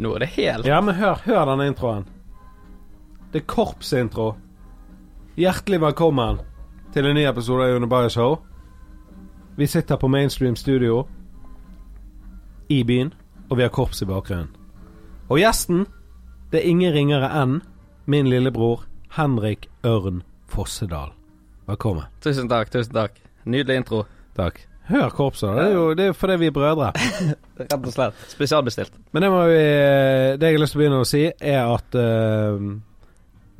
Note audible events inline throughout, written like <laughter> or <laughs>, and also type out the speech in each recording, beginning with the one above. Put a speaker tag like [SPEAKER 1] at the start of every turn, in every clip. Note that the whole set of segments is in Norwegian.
[SPEAKER 1] Nå er det helt
[SPEAKER 2] Ja, men hør, hør denne introen. Det er korpsintro. Hjertelig velkommen til en ny episode av Unibye Show. Vi sitter på Mainstream Studio i byen, og vi har korps i bakgrunnen. Og gjesten, det er ingen ringere enn min lillebror Henrik Ørn Fossedal. Velkommen.
[SPEAKER 1] Tusen takk, tusen takk. Nydelig intro.
[SPEAKER 2] Takk. Hør korpset, da. det er jo det er jo fordi vi er brødre.
[SPEAKER 1] Rett og slett. Spesialbestilt.
[SPEAKER 2] Men det, må vi, det jeg har lyst til å begynne å si, er at eh,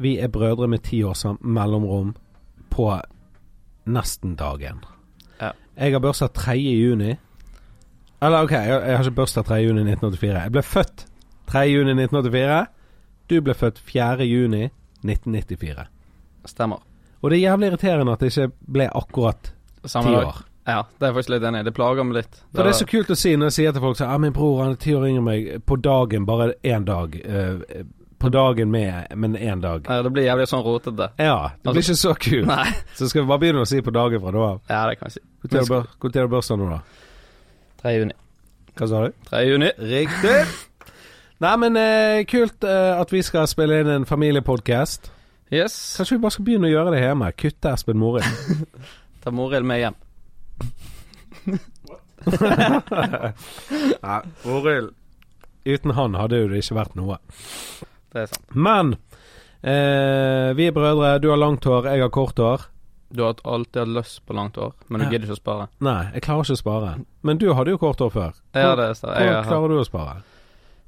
[SPEAKER 2] vi er brødre med ti års mellomrom på nesten dagen.
[SPEAKER 1] Ja.
[SPEAKER 2] Jeg har bursdag 3. juni. Eller OK, jeg, jeg har ikke bursdag 3. juni 1984. Jeg ble født 3. juni 1984. Du ble født 4. juni 1994.
[SPEAKER 1] Stemmer.
[SPEAKER 2] Og det er jævlig irriterende at det ikke ble akkurat
[SPEAKER 1] Samme
[SPEAKER 2] ti
[SPEAKER 1] dag.
[SPEAKER 2] år.
[SPEAKER 1] Ja, det er jeg faktisk litt enig i. Det plager meg litt.
[SPEAKER 2] For det er så kult å si når jeg sier til folk at ah, min bror han er ti år yngre enn meg, på dagen, bare én dag. eh, på dagen med, men én dag.
[SPEAKER 1] Ja, det blir jævlig sånn rotete.
[SPEAKER 2] Ja, det blir ikke så kult.
[SPEAKER 1] Nei.
[SPEAKER 2] Så skal vi bare begynne å si på dagen fra da av.
[SPEAKER 1] Ja, det kan jeg si.
[SPEAKER 2] Når er det bør- hvor tid er det børsa nå, da?
[SPEAKER 1] 3. juni.
[SPEAKER 2] Hva sa du?
[SPEAKER 1] 3. juni.
[SPEAKER 2] Riktig. Nei, men eh, kult eh, at vi skal spille inn en familiepodkast.
[SPEAKER 1] Yes.
[SPEAKER 2] Kanskje vi bare skal begynne å gjøre det hjemme? Kutte Espen Morild.
[SPEAKER 1] Ta Morild med hjem.
[SPEAKER 2] <laughs> Nei, Morild Uten han hadde jo det ikke vært noe.
[SPEAKER 1] Det er sant.
[SPEAKER 2] Men eh, vi er brødre. Du har langt hår, jeg har kort hår.
[SPEAKER 1] Du har alltid hatt lyst på langt hår, men du
[SPEAKER 2] Ja.
[SPEAKER 1] gidder ikke å spare.
[SPEAKER 2] Nei, jeg klarer ikke å spare. Men du hadde jo kort hår før.
[SPEAKER 1] Ja, det er sant. Jeg
[SPEAKER 2] Hvordan
[SPEAKER 1] har
[SPEAKER 2] klarer du å spare?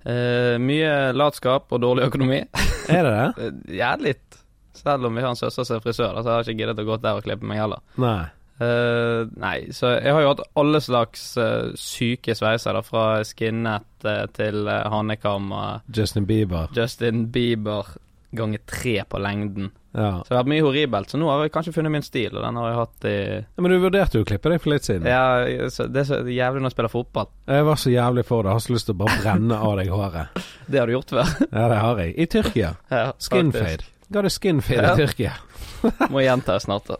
[SPEAKER 1] eh, mye latskap og dårlig økonomi.
[SPEAKER 2] Er det det?
[SPEAKER 1] Eh, Ja, litt. Selv om vi har en søster som er frisør, da, så har jeg ikke giddet å gå der og klippe meg heller.
[SPEAKER 2] Nei.
[SPEAKER 1] Eh, nei, så jeg har jo hatt alle slags eh, syke sveiser, da, fra skinnet eh, til eh, hannekam. eh,
[SPEAKER 2] Justin Bieber.
[SPEAKER 1] Justin Bieber ganger tre på lengden.
[SPEAKER 2] Ja.
[SPEAKER 1] Så det har vært mye horribelt, så nå har jeg kanskje funnet min stil, og den har jeg hatt i
[SPEAKER 2] Ja, Men du vurderte jo å klippe deg for litt siden.
[SPEAKER 1] ja, så Det er så jævlig når jeg spiller fotball.
[SPEAKER 2] Jeg var så jævlig for det. Jeg har så lyst til å bare brenne av deg håret.
[SPEAKER 1] Det har du gjort før. <laughs>
[SPEAKER 2] Ja, det har jeg. I Tyrkia.
[SPEAKER 1] Ja,
[SPEAKER 2] Skinfade. Ga det skinfade
[SPEAKER 1] Ja.
[SPEAKER 2] i Tyrkia.
[SPEAKER 1] faktisk. Må gjenta snart, da.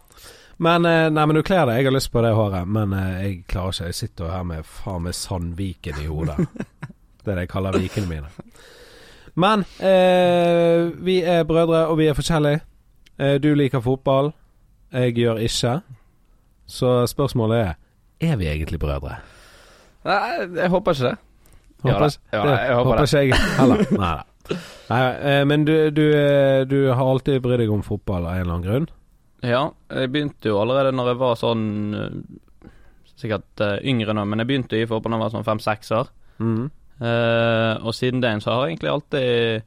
[SPEAKER 2] Men eh, nei, men du kler deg. Jeg har lyst på det håret, men eh, jeg klarer ikke. Jeg sitter jo her med faen meg Sandviken i
[SPEAKER 1] <laughs>
[SPEAKER 2] hodet. Det er det jeg kaller vikene mine. Men eh, vi er brødre, og vi er forskjellige. Eh, du liker fotball. Jeg gjør ikke. Så spørsmålet er Er vi egentlig brødre?
[SPEAKER 1] Nei, jeg håper ikke det. Ja
[SPEAKER 2] Håper,
[SPEAKER 1] da. Ja, jeg håper det.
[SPEAKER 2] ikke jeg heller. Nei, da. Nei, eh, men du, du, eh, du har alltid brydd deg om fotball av en eller annen grunn.
[SPEAKER 1] Ja, jeg begynte jo allerede når jeg var sånn eh, Sikkert eh, yngre nå, men jeg begynte i fotball da jeg var sånn fem-seks år. Eh, og siden den så har jeg egentlig alltid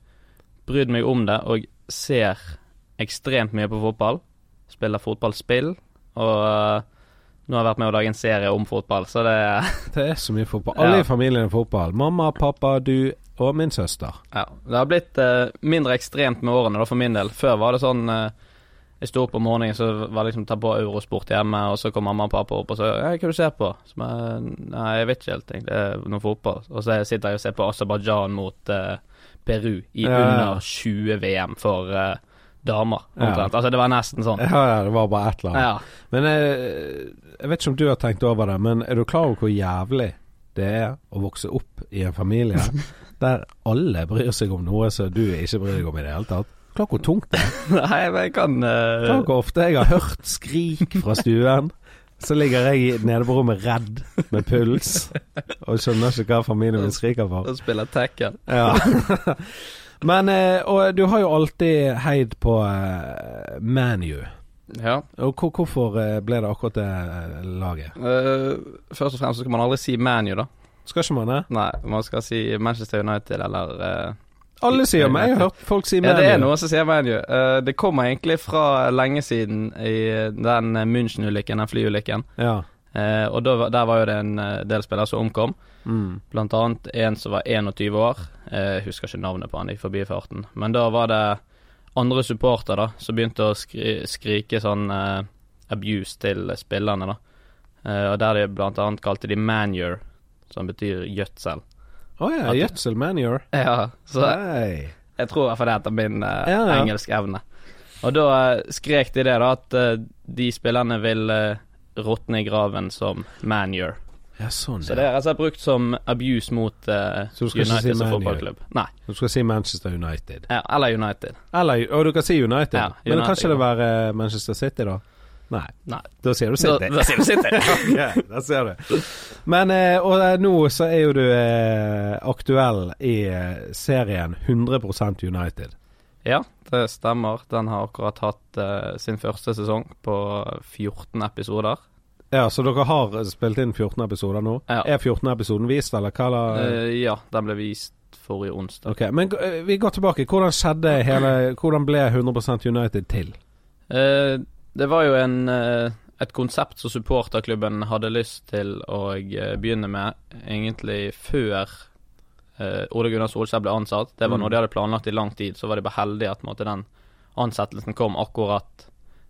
[SPEAKER 1] brydd meg om det, og ser ekstremt mye på fotball. Spiller fotballspill, og eh, nå har jeg vært med å lage en serie om fotball, så det
[SPEAKER 2] Det er så mye fotball.
[SPEAKER 1] Ja.
[SPEAKER 2] Alle i familien er fotball. Mamma, pappa, du og min søster.
[SPEAKER 1] Ja. Det har blitt eh, mindre ekstremt med årene, da, for min del. Før var det sånn eh, Jeg sto opp om morgenen, så var det liksom ta på Eurosport hjemme, og så kom mamma og pappa opp og så «Ja, 'Hva du ser på?' Så jeg, Nei, jeg vet ikke helt, egentlig. Det er Noe fotball. Og så sitter jeg og ser på Aserbajdsjan mot eh, Peru i
[SPEAKER 2] Ja, ja.
[SPEAKER 1] under 20 VM for eh, damer,
[SPEAKER 2] Ja.
[SPEAKER 1] omtrent. Altså, det var nesten sånn.
[SPEAKER 2] Ja, ja, det var bare et eller annet.
[SPEAKER 1] Ja. <laughs>
[SPEAKER 2] Men eh, jeg vet ikke om du har tenkt over det, men er du klar over hvor jævlig det er å vokse opp i en
[SPEAKER 1] <laughs>
[SPEAKER 2] familie der alle bryr seg om noe som du ikke bryr deg om i det hele tatt? Klar over hvor tungt det er.
[SPEAKER 1] Nei, men jeg kan eh,
[SPEAKER 2] Klar over hvor ofte jeg har hørt skrik fra stuen. Så ligger jeg i- nede på rommet redd med puls og skjønner ikke hva familien min skriker for.
[SPEAKER 1] spille tackle.
[SPEAKER 2] Ja. <laughs> Men eh, og du har jo alltid heid på eh, ManU.
[SPEAKER 1] Ja.
[SPEAKER 2] Og hvor, hvorfor eh, ble det akkurat det eh, laget?
[SPEAKER 1] Eh, først og fremst så skal man aldri si ManU, da.
[SPEAKER 2] Skal ikke man det?
[SPEAKER 1] Nei, man skal si Manchester United eller eh,
[SPEAKER 2] Alle sier meg. Jeg har hørt folk si
[SPEAKER 1] Ja, det er
[SPEAKER 2] ManU.
[SPEAKER 1] noe som sier ManU. Eh, det kommer egentlig fra lenge siden i den eh, München-ulykken, den flyulykken.
[SPEAKER 2] Ja.
[SPEAKER 1] Eh, og da, var- der var jo det en eh, del spillere som omkom,
[SPEAKER 2] Mm.
[SPEAKER 1] blant annet en som var 21 år. Eh, Jeg husker ikke navnet på han, gikk forbi farten. Men da var det andre supporter da, som begynte å skri skrike sånn eh, abuse til spillerne, da. Eh, og der de blant annet kalte de manure, som betyr gjødsel.
[SPEAKER 2] Å ja,
[SPEAKER 1] At-
[SPEAKER 2] gjødsel manure.
[SPEAKER 1] Ja, så
[SPEAKER 2] Nei.
[SPEAKER 1] Jeg tror i hvert fall det er etter min uh,
[SPEAKER 2] Ja, ja.
[SPEAKER 1] engelske evne. Og da eh, skrek de det, da, at eh, de spillerne vil eh, råtne i graven som manure.
[SPEAKER 2] Ja, sånn,
[SPEAKER 1] Så det er rett og slett brukt som abuse mot eh,
[SPEAKER 2] Så du skal ikke si
[SPEAKER 1] United som
[SPEAKER 2] Man
[SPEAKER 1] fotballklubb. Nei.
[SPEAKER 2] Du skal si Manchester United.
[SPEAKER 1] Ja, eller United.
[SPEAKER 2] Eller Og du kan si United.
[SPEAKER 1] Ja,
[SPEAKER 2] Men
[SPEAKER 1] United,
[SPEAKER 2] kan
[SPEAKER 1] ja.
[SPEAKER 2] ikke det være eh, Manchester City, da? Nei.
[SPEAKER 1] Nei.
[SPEAKER 2] Da sier du
[SPEAKER 1] Da,
[SPEAKER 2] City.
[SPEAKER 1] da sier du City.
[SPEAKER 2] <laughs> Ja, der ser du. Men eh, og eh, nå så er jo du eh, aktuell i eh, serien 100 United.
[SPEAKER 1] ja, det stemmer. Den har akkurat hatt eh, sin første sesong på 14 episoder.
[SPEAKER 2] Ja, Så dere har spilt inn 14 episoder nå?
[SPEAKER 1] Ja.
[SPEAKER 2] Er 14 episoden vist, eller hva da?
[SPEAKER 1] Eh, ja, den ble vist forrige onsdag.
[SPEAKER 2] Ok, Men eh, vi går tilbake. Hvordan skjedde hele Hvordan ble 100 United til?
[SPEAKER 1] Eh, det var jo en, eh, et konsept som supporterklubben hadde lyst til å eh, begynne med egentlig før eh, Ole Gunnar Solskjær ble ansatt. Det var
[SPEAKER 2] Mm.
[SPEAKER 1] noe de hadde planlagt i lang tid, så var de bare heldige at på en måte, den ansettelsen kom akkurat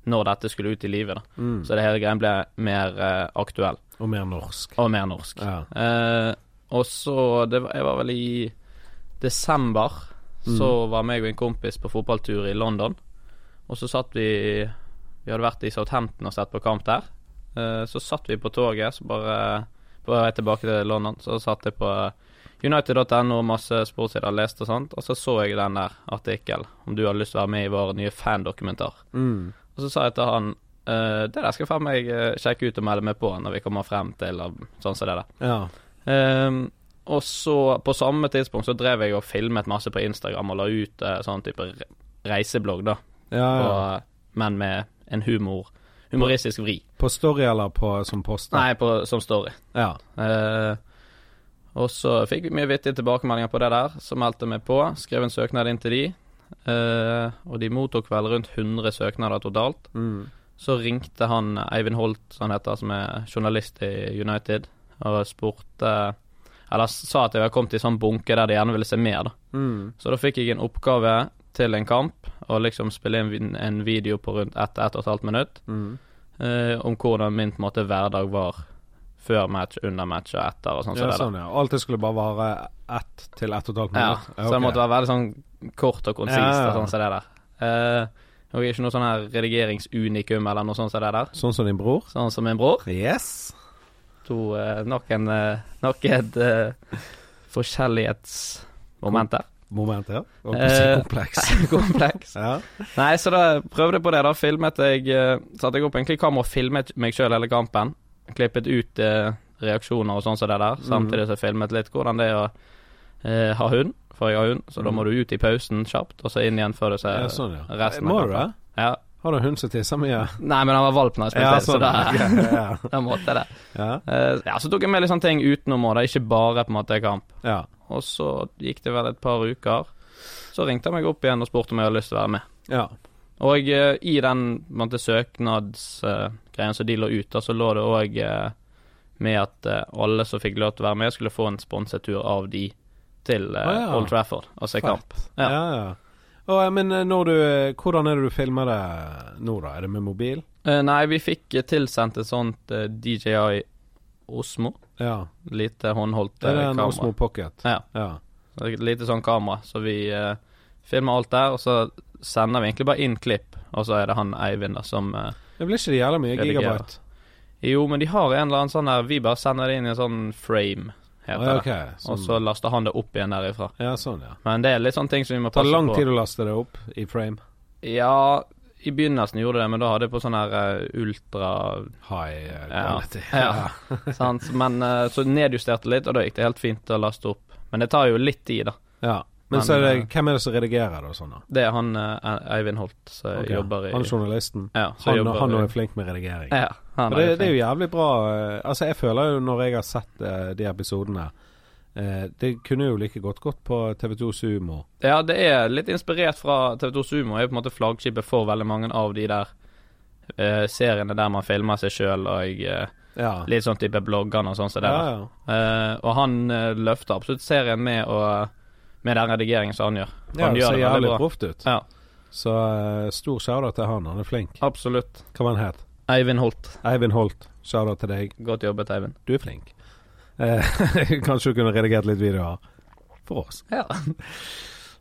[SPEAKER 1] når dette skulle ut i livet. Da.
[SPEAKER 2] Mm.
[SPEAKER 1] Så det hele greien ble mer eh, aktuell
[SPEAKER 2] Og mer norsk.
[SPEAKER 1] og mer norsk.
[SPEAKER 2] Ja.
[SPEAKER 1] Eh, og så det var, Jeg var vel i desember. Så var meg og en kompis på fotballtur i London. Og så satt vi Vi hadde vært i Southampton og sett på kamp der. Eh, så satt vi på toget, så bare på vei tilbake til London, så satt jeg på United.no og masse sportssider og leste og sånt, og så så jeg den der artikkelen om du hadde lyst til å være med i vår nye fandokumentar.
[SPEAKER 2] Mm.
[SPEAKER 1] Og så sa jeg til han eh, det der skal faen meg eh, sjekke ut og melde meg på når vi kommer frem til og sånn som det der.
[SPEAKER 2] ja.
[SPEAKER 1] Ehm, og så, på samme tidspunkt, så drev jeg og filmet masse på Instagram og la ut eh, sånn type re- reiseblogg, da.
[SPEAKER 2] Ja,
[SPEAKER 1] På,
[SPEAKER 2] ja.
[SPEAKER 1] Men med en humor humoristisk vri.
[SPEAKER 2] På story eller på, som post?
[SPEAKER 1] Nei, på, som story.
[SPEAKER 2] Ja.
[SPEAKER 1] Eh, og så fikk vi mye vittige tilbakemeldinger på det der, så meldte jeg meg på. Skrev en søknad inn til de. eh, og de mottok vel rundt 100 søknader totalt.
[SPEAKER 2] Mm.
[SPEAKER 1] Så ringte han Eivind Holt, som han heter, som er journalist i United, og spurte Eller sa at jeg var kommet i sånn bunke der de gjerne ville se mer, da.
[SPEAKER 2] Mm.
[SPEAKER 1] Så da fikk jeg en oppgave til en kamp, og liksom spille inn vin- en video på rundt 1-1,5 minutt
[SPEAKER 2] Mm.
[SPEAKER 1] eh, om hvordan min på en måte hverdag var før match, under match og etter og sånn. som
[SPEAKER 2] Ja,
[SPEAKER 1] det der.
[SPEAKER 2] sånn, ja. Alt det skulle bare vare ett til ett og et halvt
[SPEAKER 1] Ja, så
[SPEAKER 2] minutt?
[SPEAKER 1] det måtte være veldig sånn kort og konsist
[SPEAKER 2] Ja, ja, ja.
[SPEAKER 1] og sånn som det der. Eh, og jeg er ikke noe sånn her redigeringsunikum eller noe sånt som det der.
[SPEAKER 2] Sånn som din bror?
[SPEAKER 1] Sånn som min bror.
[SPEAKER 2] Yes.
[SPEAKER 1] to eh, nok en eh, Nok et eh, forskjellighetsmoment der.
[SPEAKER 2] Moment, ja. Og
[SPEAKER 1] Eh,
[SPEAKER 2] <laughs> kompleks.
[SPEAKER 1] <laughs> Kompleks.
[SPEAKER 2] Ja.
[SPEAKER 1] Nei, så da prøvde jeg på det. Da filmet jeg eh, Satte jeg opp egentlig kamera og filmet meg sjøl hele kampen. Klippet ut eh, reaksjoner og sånn som det der.
[SPEAKER 2] Mhm.
[SPEAKER 1] Samtidig så filmet litt hvordan det er å eh, ha hund, for jeg har hund. Så da må du ut i pausen kjapt, og så inn igjen før du ser
[SPEAKER 2] Mhm. ja, sånn, ja.
[SPEAKER 1] resten av
[SPEAKER 2] Må du det?
[SPEAKER 1] kampen. Ja.
[SPEAKER 2] Har du en hund som tisser mye?
[SPEAKER 1] Nei, men han var valp når jeg spilte, så da,
[SPEAKER 2] <laughs> ja, ja,
[SPEAKER 1] <laughs> da måtte jeg det.
[SPEAKER 2] ja.
[SPEAKER 1] Eh, ja, så tok jeg med litt sånne ting utenom, og da ikke bare på en måte kamp.
[SPEAKER 2] ja.
[SPEAKER 1] Og så gikk det vel et par uker. Så ringte han meg opp igjen og spurte om jeg hadde lyst til å være med.
[SPEAKER 2] ja.
[SPEAKER 1] Og eh, i den søknadsgreien som de lå ut, da, så lå det òg eh, med at eh, alle som fikk lov til å være med, skulle få en sponsetur av de til eh,
[SPEAKER 2] Å, ja.
[SPEAKER 1] Old Trafford og se
[SPEAKER 2] Fett.
[SPEAKER 1] kamp.
[SPEAKER 2] ja.
[SPEAKER 1] Ja.
[SPEAKER 2] ja. Og, eh, men eh, når du, eh, hvordan er det du filmer det nå, da? Er det med mobil?
[SPEAKER 1] Eh, nei, vi fikk eh, tilsendt et sånt eh, DJI Osmo.
[SPEAKER 2] Ja.
[SPEAKER 1] Lite håndholdt
[SPEAKER 2] Det
[SPEAKER 1] eh,
[SPEAKER 2] er en
[SPEAKER 1] kamera.
[SPEAKER 2] Osmo Pocket.
[SPEAKER 1] Ja. Så det er Et lite sånn kamera, så vi eh, filmer alt der, og så sender vi egentlig bare inn klipp, og så er det han Eivind da som eh,
[SPEAKER 2] Det blir ikke det jævla mye
[SPEAKER 1] Redigerer.
[SPEAKER 2] gigabyte?
[SPEAKER 1] Jo, men de har en eller annen sånn der Vi bare sender det inn i en sånn frame, heter
[SPEAKER 2] Ja,
[SPEAKER 1] det.
[SPEAKER 2] ok.
[SPEAKER 1] Og
[SPEAKER 2] Sånn.
[SPEAKER 1] så laster han det opp igjen derifra.
[SPEAKER 2] Ja, sånn, ja.
[SPEAKER 1] Men det er litt sånne ting som vi må
[SPEAKER 2] Tar
[SPEAKER 1] passe
[SPEAKER 2] det lang
[SPEAKER 1] på.
[SPEAKER 2] tid å laste det opp i frame?
[SPEAKER 1] Ja, i begynnelsen gjorde det, men da hadde jeg på sånn her eh, ultra
[SPEAKER 2] <laughs> High eh,
[SPEAKER 1] Ja.
[SPEAKER 2] quality.
[SPEAKER 1] <laughs> Ja. sant? Men eh, så nedjusterte litt, og da gikk det helt fint å laste opp. Men det tar jo litt tid, da.
[SPEAKER 2] Ja. Men
[SPEAKER 1] Men,
[SPEAKER 2] så er det,
[SPEAKER 1] eh,
[SPEAKER 2] hvem er det som redigerer det og sånn, da?
[SPEAKER 1] Det er han eh, Eivind Holt som
[SPEAKER 2] Ok.
[SPEAKER 1] jobber i
[SPEAKER 2] Han journalisten.
[SPEAKER 1] ja, som
[SPEAKER 2] Han,
[SPEAKER 1] jobber
[SPEAKER 2] han
[SPEAKER 1] i-
[SPEAKER 2] er flink med redigering.
[SPEAKER 1] ja, han
[SPEAKER 2] For
[SPEAKER 1] er
[SPEAKER 2] det,
[SPEAKER 1] flink.
[SPEAKER 2] det er jo jævlig bra eh, Altså, jeg føler jo når jeg har sett eh, de episodene eh, Det kunne jo like godt gått på TV2 Sumo.
[SPEAKER 1] Ja, det er litt inspirert fra TV2 Sumo. Er jo på en måte flaggskipet for veldig mange av de der eh, seriene der man filmer seg sjøl og eh,
[SPEAKER 2] Ja.
[SPEAKER 1] litt sånn type bloggerne og sånn som det
[SPEAKER 2] ja,
[SPEAKER 1] der.
[SPEAKER 2] ja.
[SPEAKER 1] Eh, og han eh, løfter absolutt serien med, å- med den redigeringen som han gjør. Han
[SPEAKER 2] ja
[SPEAKER 1] gjør
[SPEAKER 2] det ser
[SPEAKER 1] det veldig
[SPEAKER 2] jævlig
[SPEAKER 1] bra.
[SPEAKER 2] proft ut.
[SPEAKER 1] Ja,
[SPEAKER 2] Så eh, stor shoutout til han. Han er flink.
[SPEAKER 1] absolutt.
[SPEAKER 2] Hva var han het?
[SPEAKER 1] Eivind Holt.
[SPEAKER 2] Eivind Holt. Shoutout til deg.
[SPEAKER 1] Godt jobbet, Eivind.
[SPEAKER 2] Du er flink. Eh, <laughs> Kanskje du kunne redigert litt videoer for oss.
[SPEAKER 1] <laughs> Ja.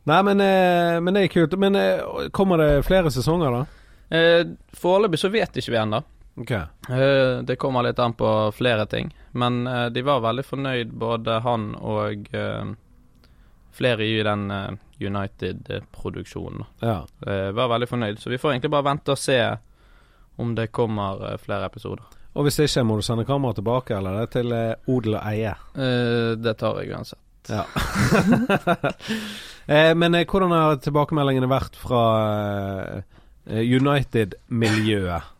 [SPEAKER 2] Nei, men, eh, men det er kult. Men eh, kommer det flere sesonger, da?
[SPEAKER 1] Eh, foreløpig så vet ikke vi ennå.
[SPEAKER 2] Ok.
[SPEAKER 1] Eh, Det kommer litt an på flere ting, men eh, de var veldig fornøyd, både han og eh, flere i den eh, United-produksjonen.
[SPEAKER 2] Ja.
[SPEAKER 1] Eh, var veldig fornøyd, så vi får egentlig bare vente og se om det kommer eh, flere episoder.
[SPEAKER 2] Og hvis ikke, må du sende kameraet tilbake, eller det er til eh, odel og eie.
[SPEAKER 1] Eh, det tar jeg uansett.
[SPEAKER 2] Ja. <laughs> eh, men eh, hvordan har tilbakemeldingene vært fra eh, United-miljøet?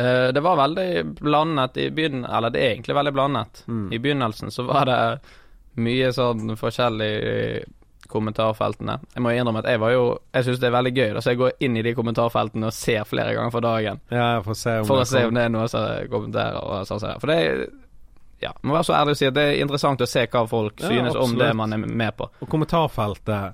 [SPEAKER 1] Eh, det var veldig blandet i begynnelsen, eller det er egentlig veldig blandet.
[SPEAKER 2] Mm.
[SPEAKER 1] I begynnelsen så var det mye sånn forskjellig i kommentarfeltene. Jeg må innrømme at jeg var jo Jeg syns det er veldig gøy, da, så jeg går inn i de kommentarfeltene og ser flere ganger for dagen.
[SPEAKER 2] Ja, jeg får se om
[SPEAKER 1] For å
[SPEAKER 2] det
[SPEAKER 1] se om
[SPEAKER 2] kom-
[SPEAKER 1] det er noe som kommenterer og sånn. som det. For det er Ja, må være så ærlig å si at det er interessant å se hva folk
[SPEAKER 2] Ja,
[SPEAKER 1] synes om
[SPEAKER 2] absolutt.
[SPEAKER 1] det man er med på.
[SPEAKER 2] Og kommentarfeltet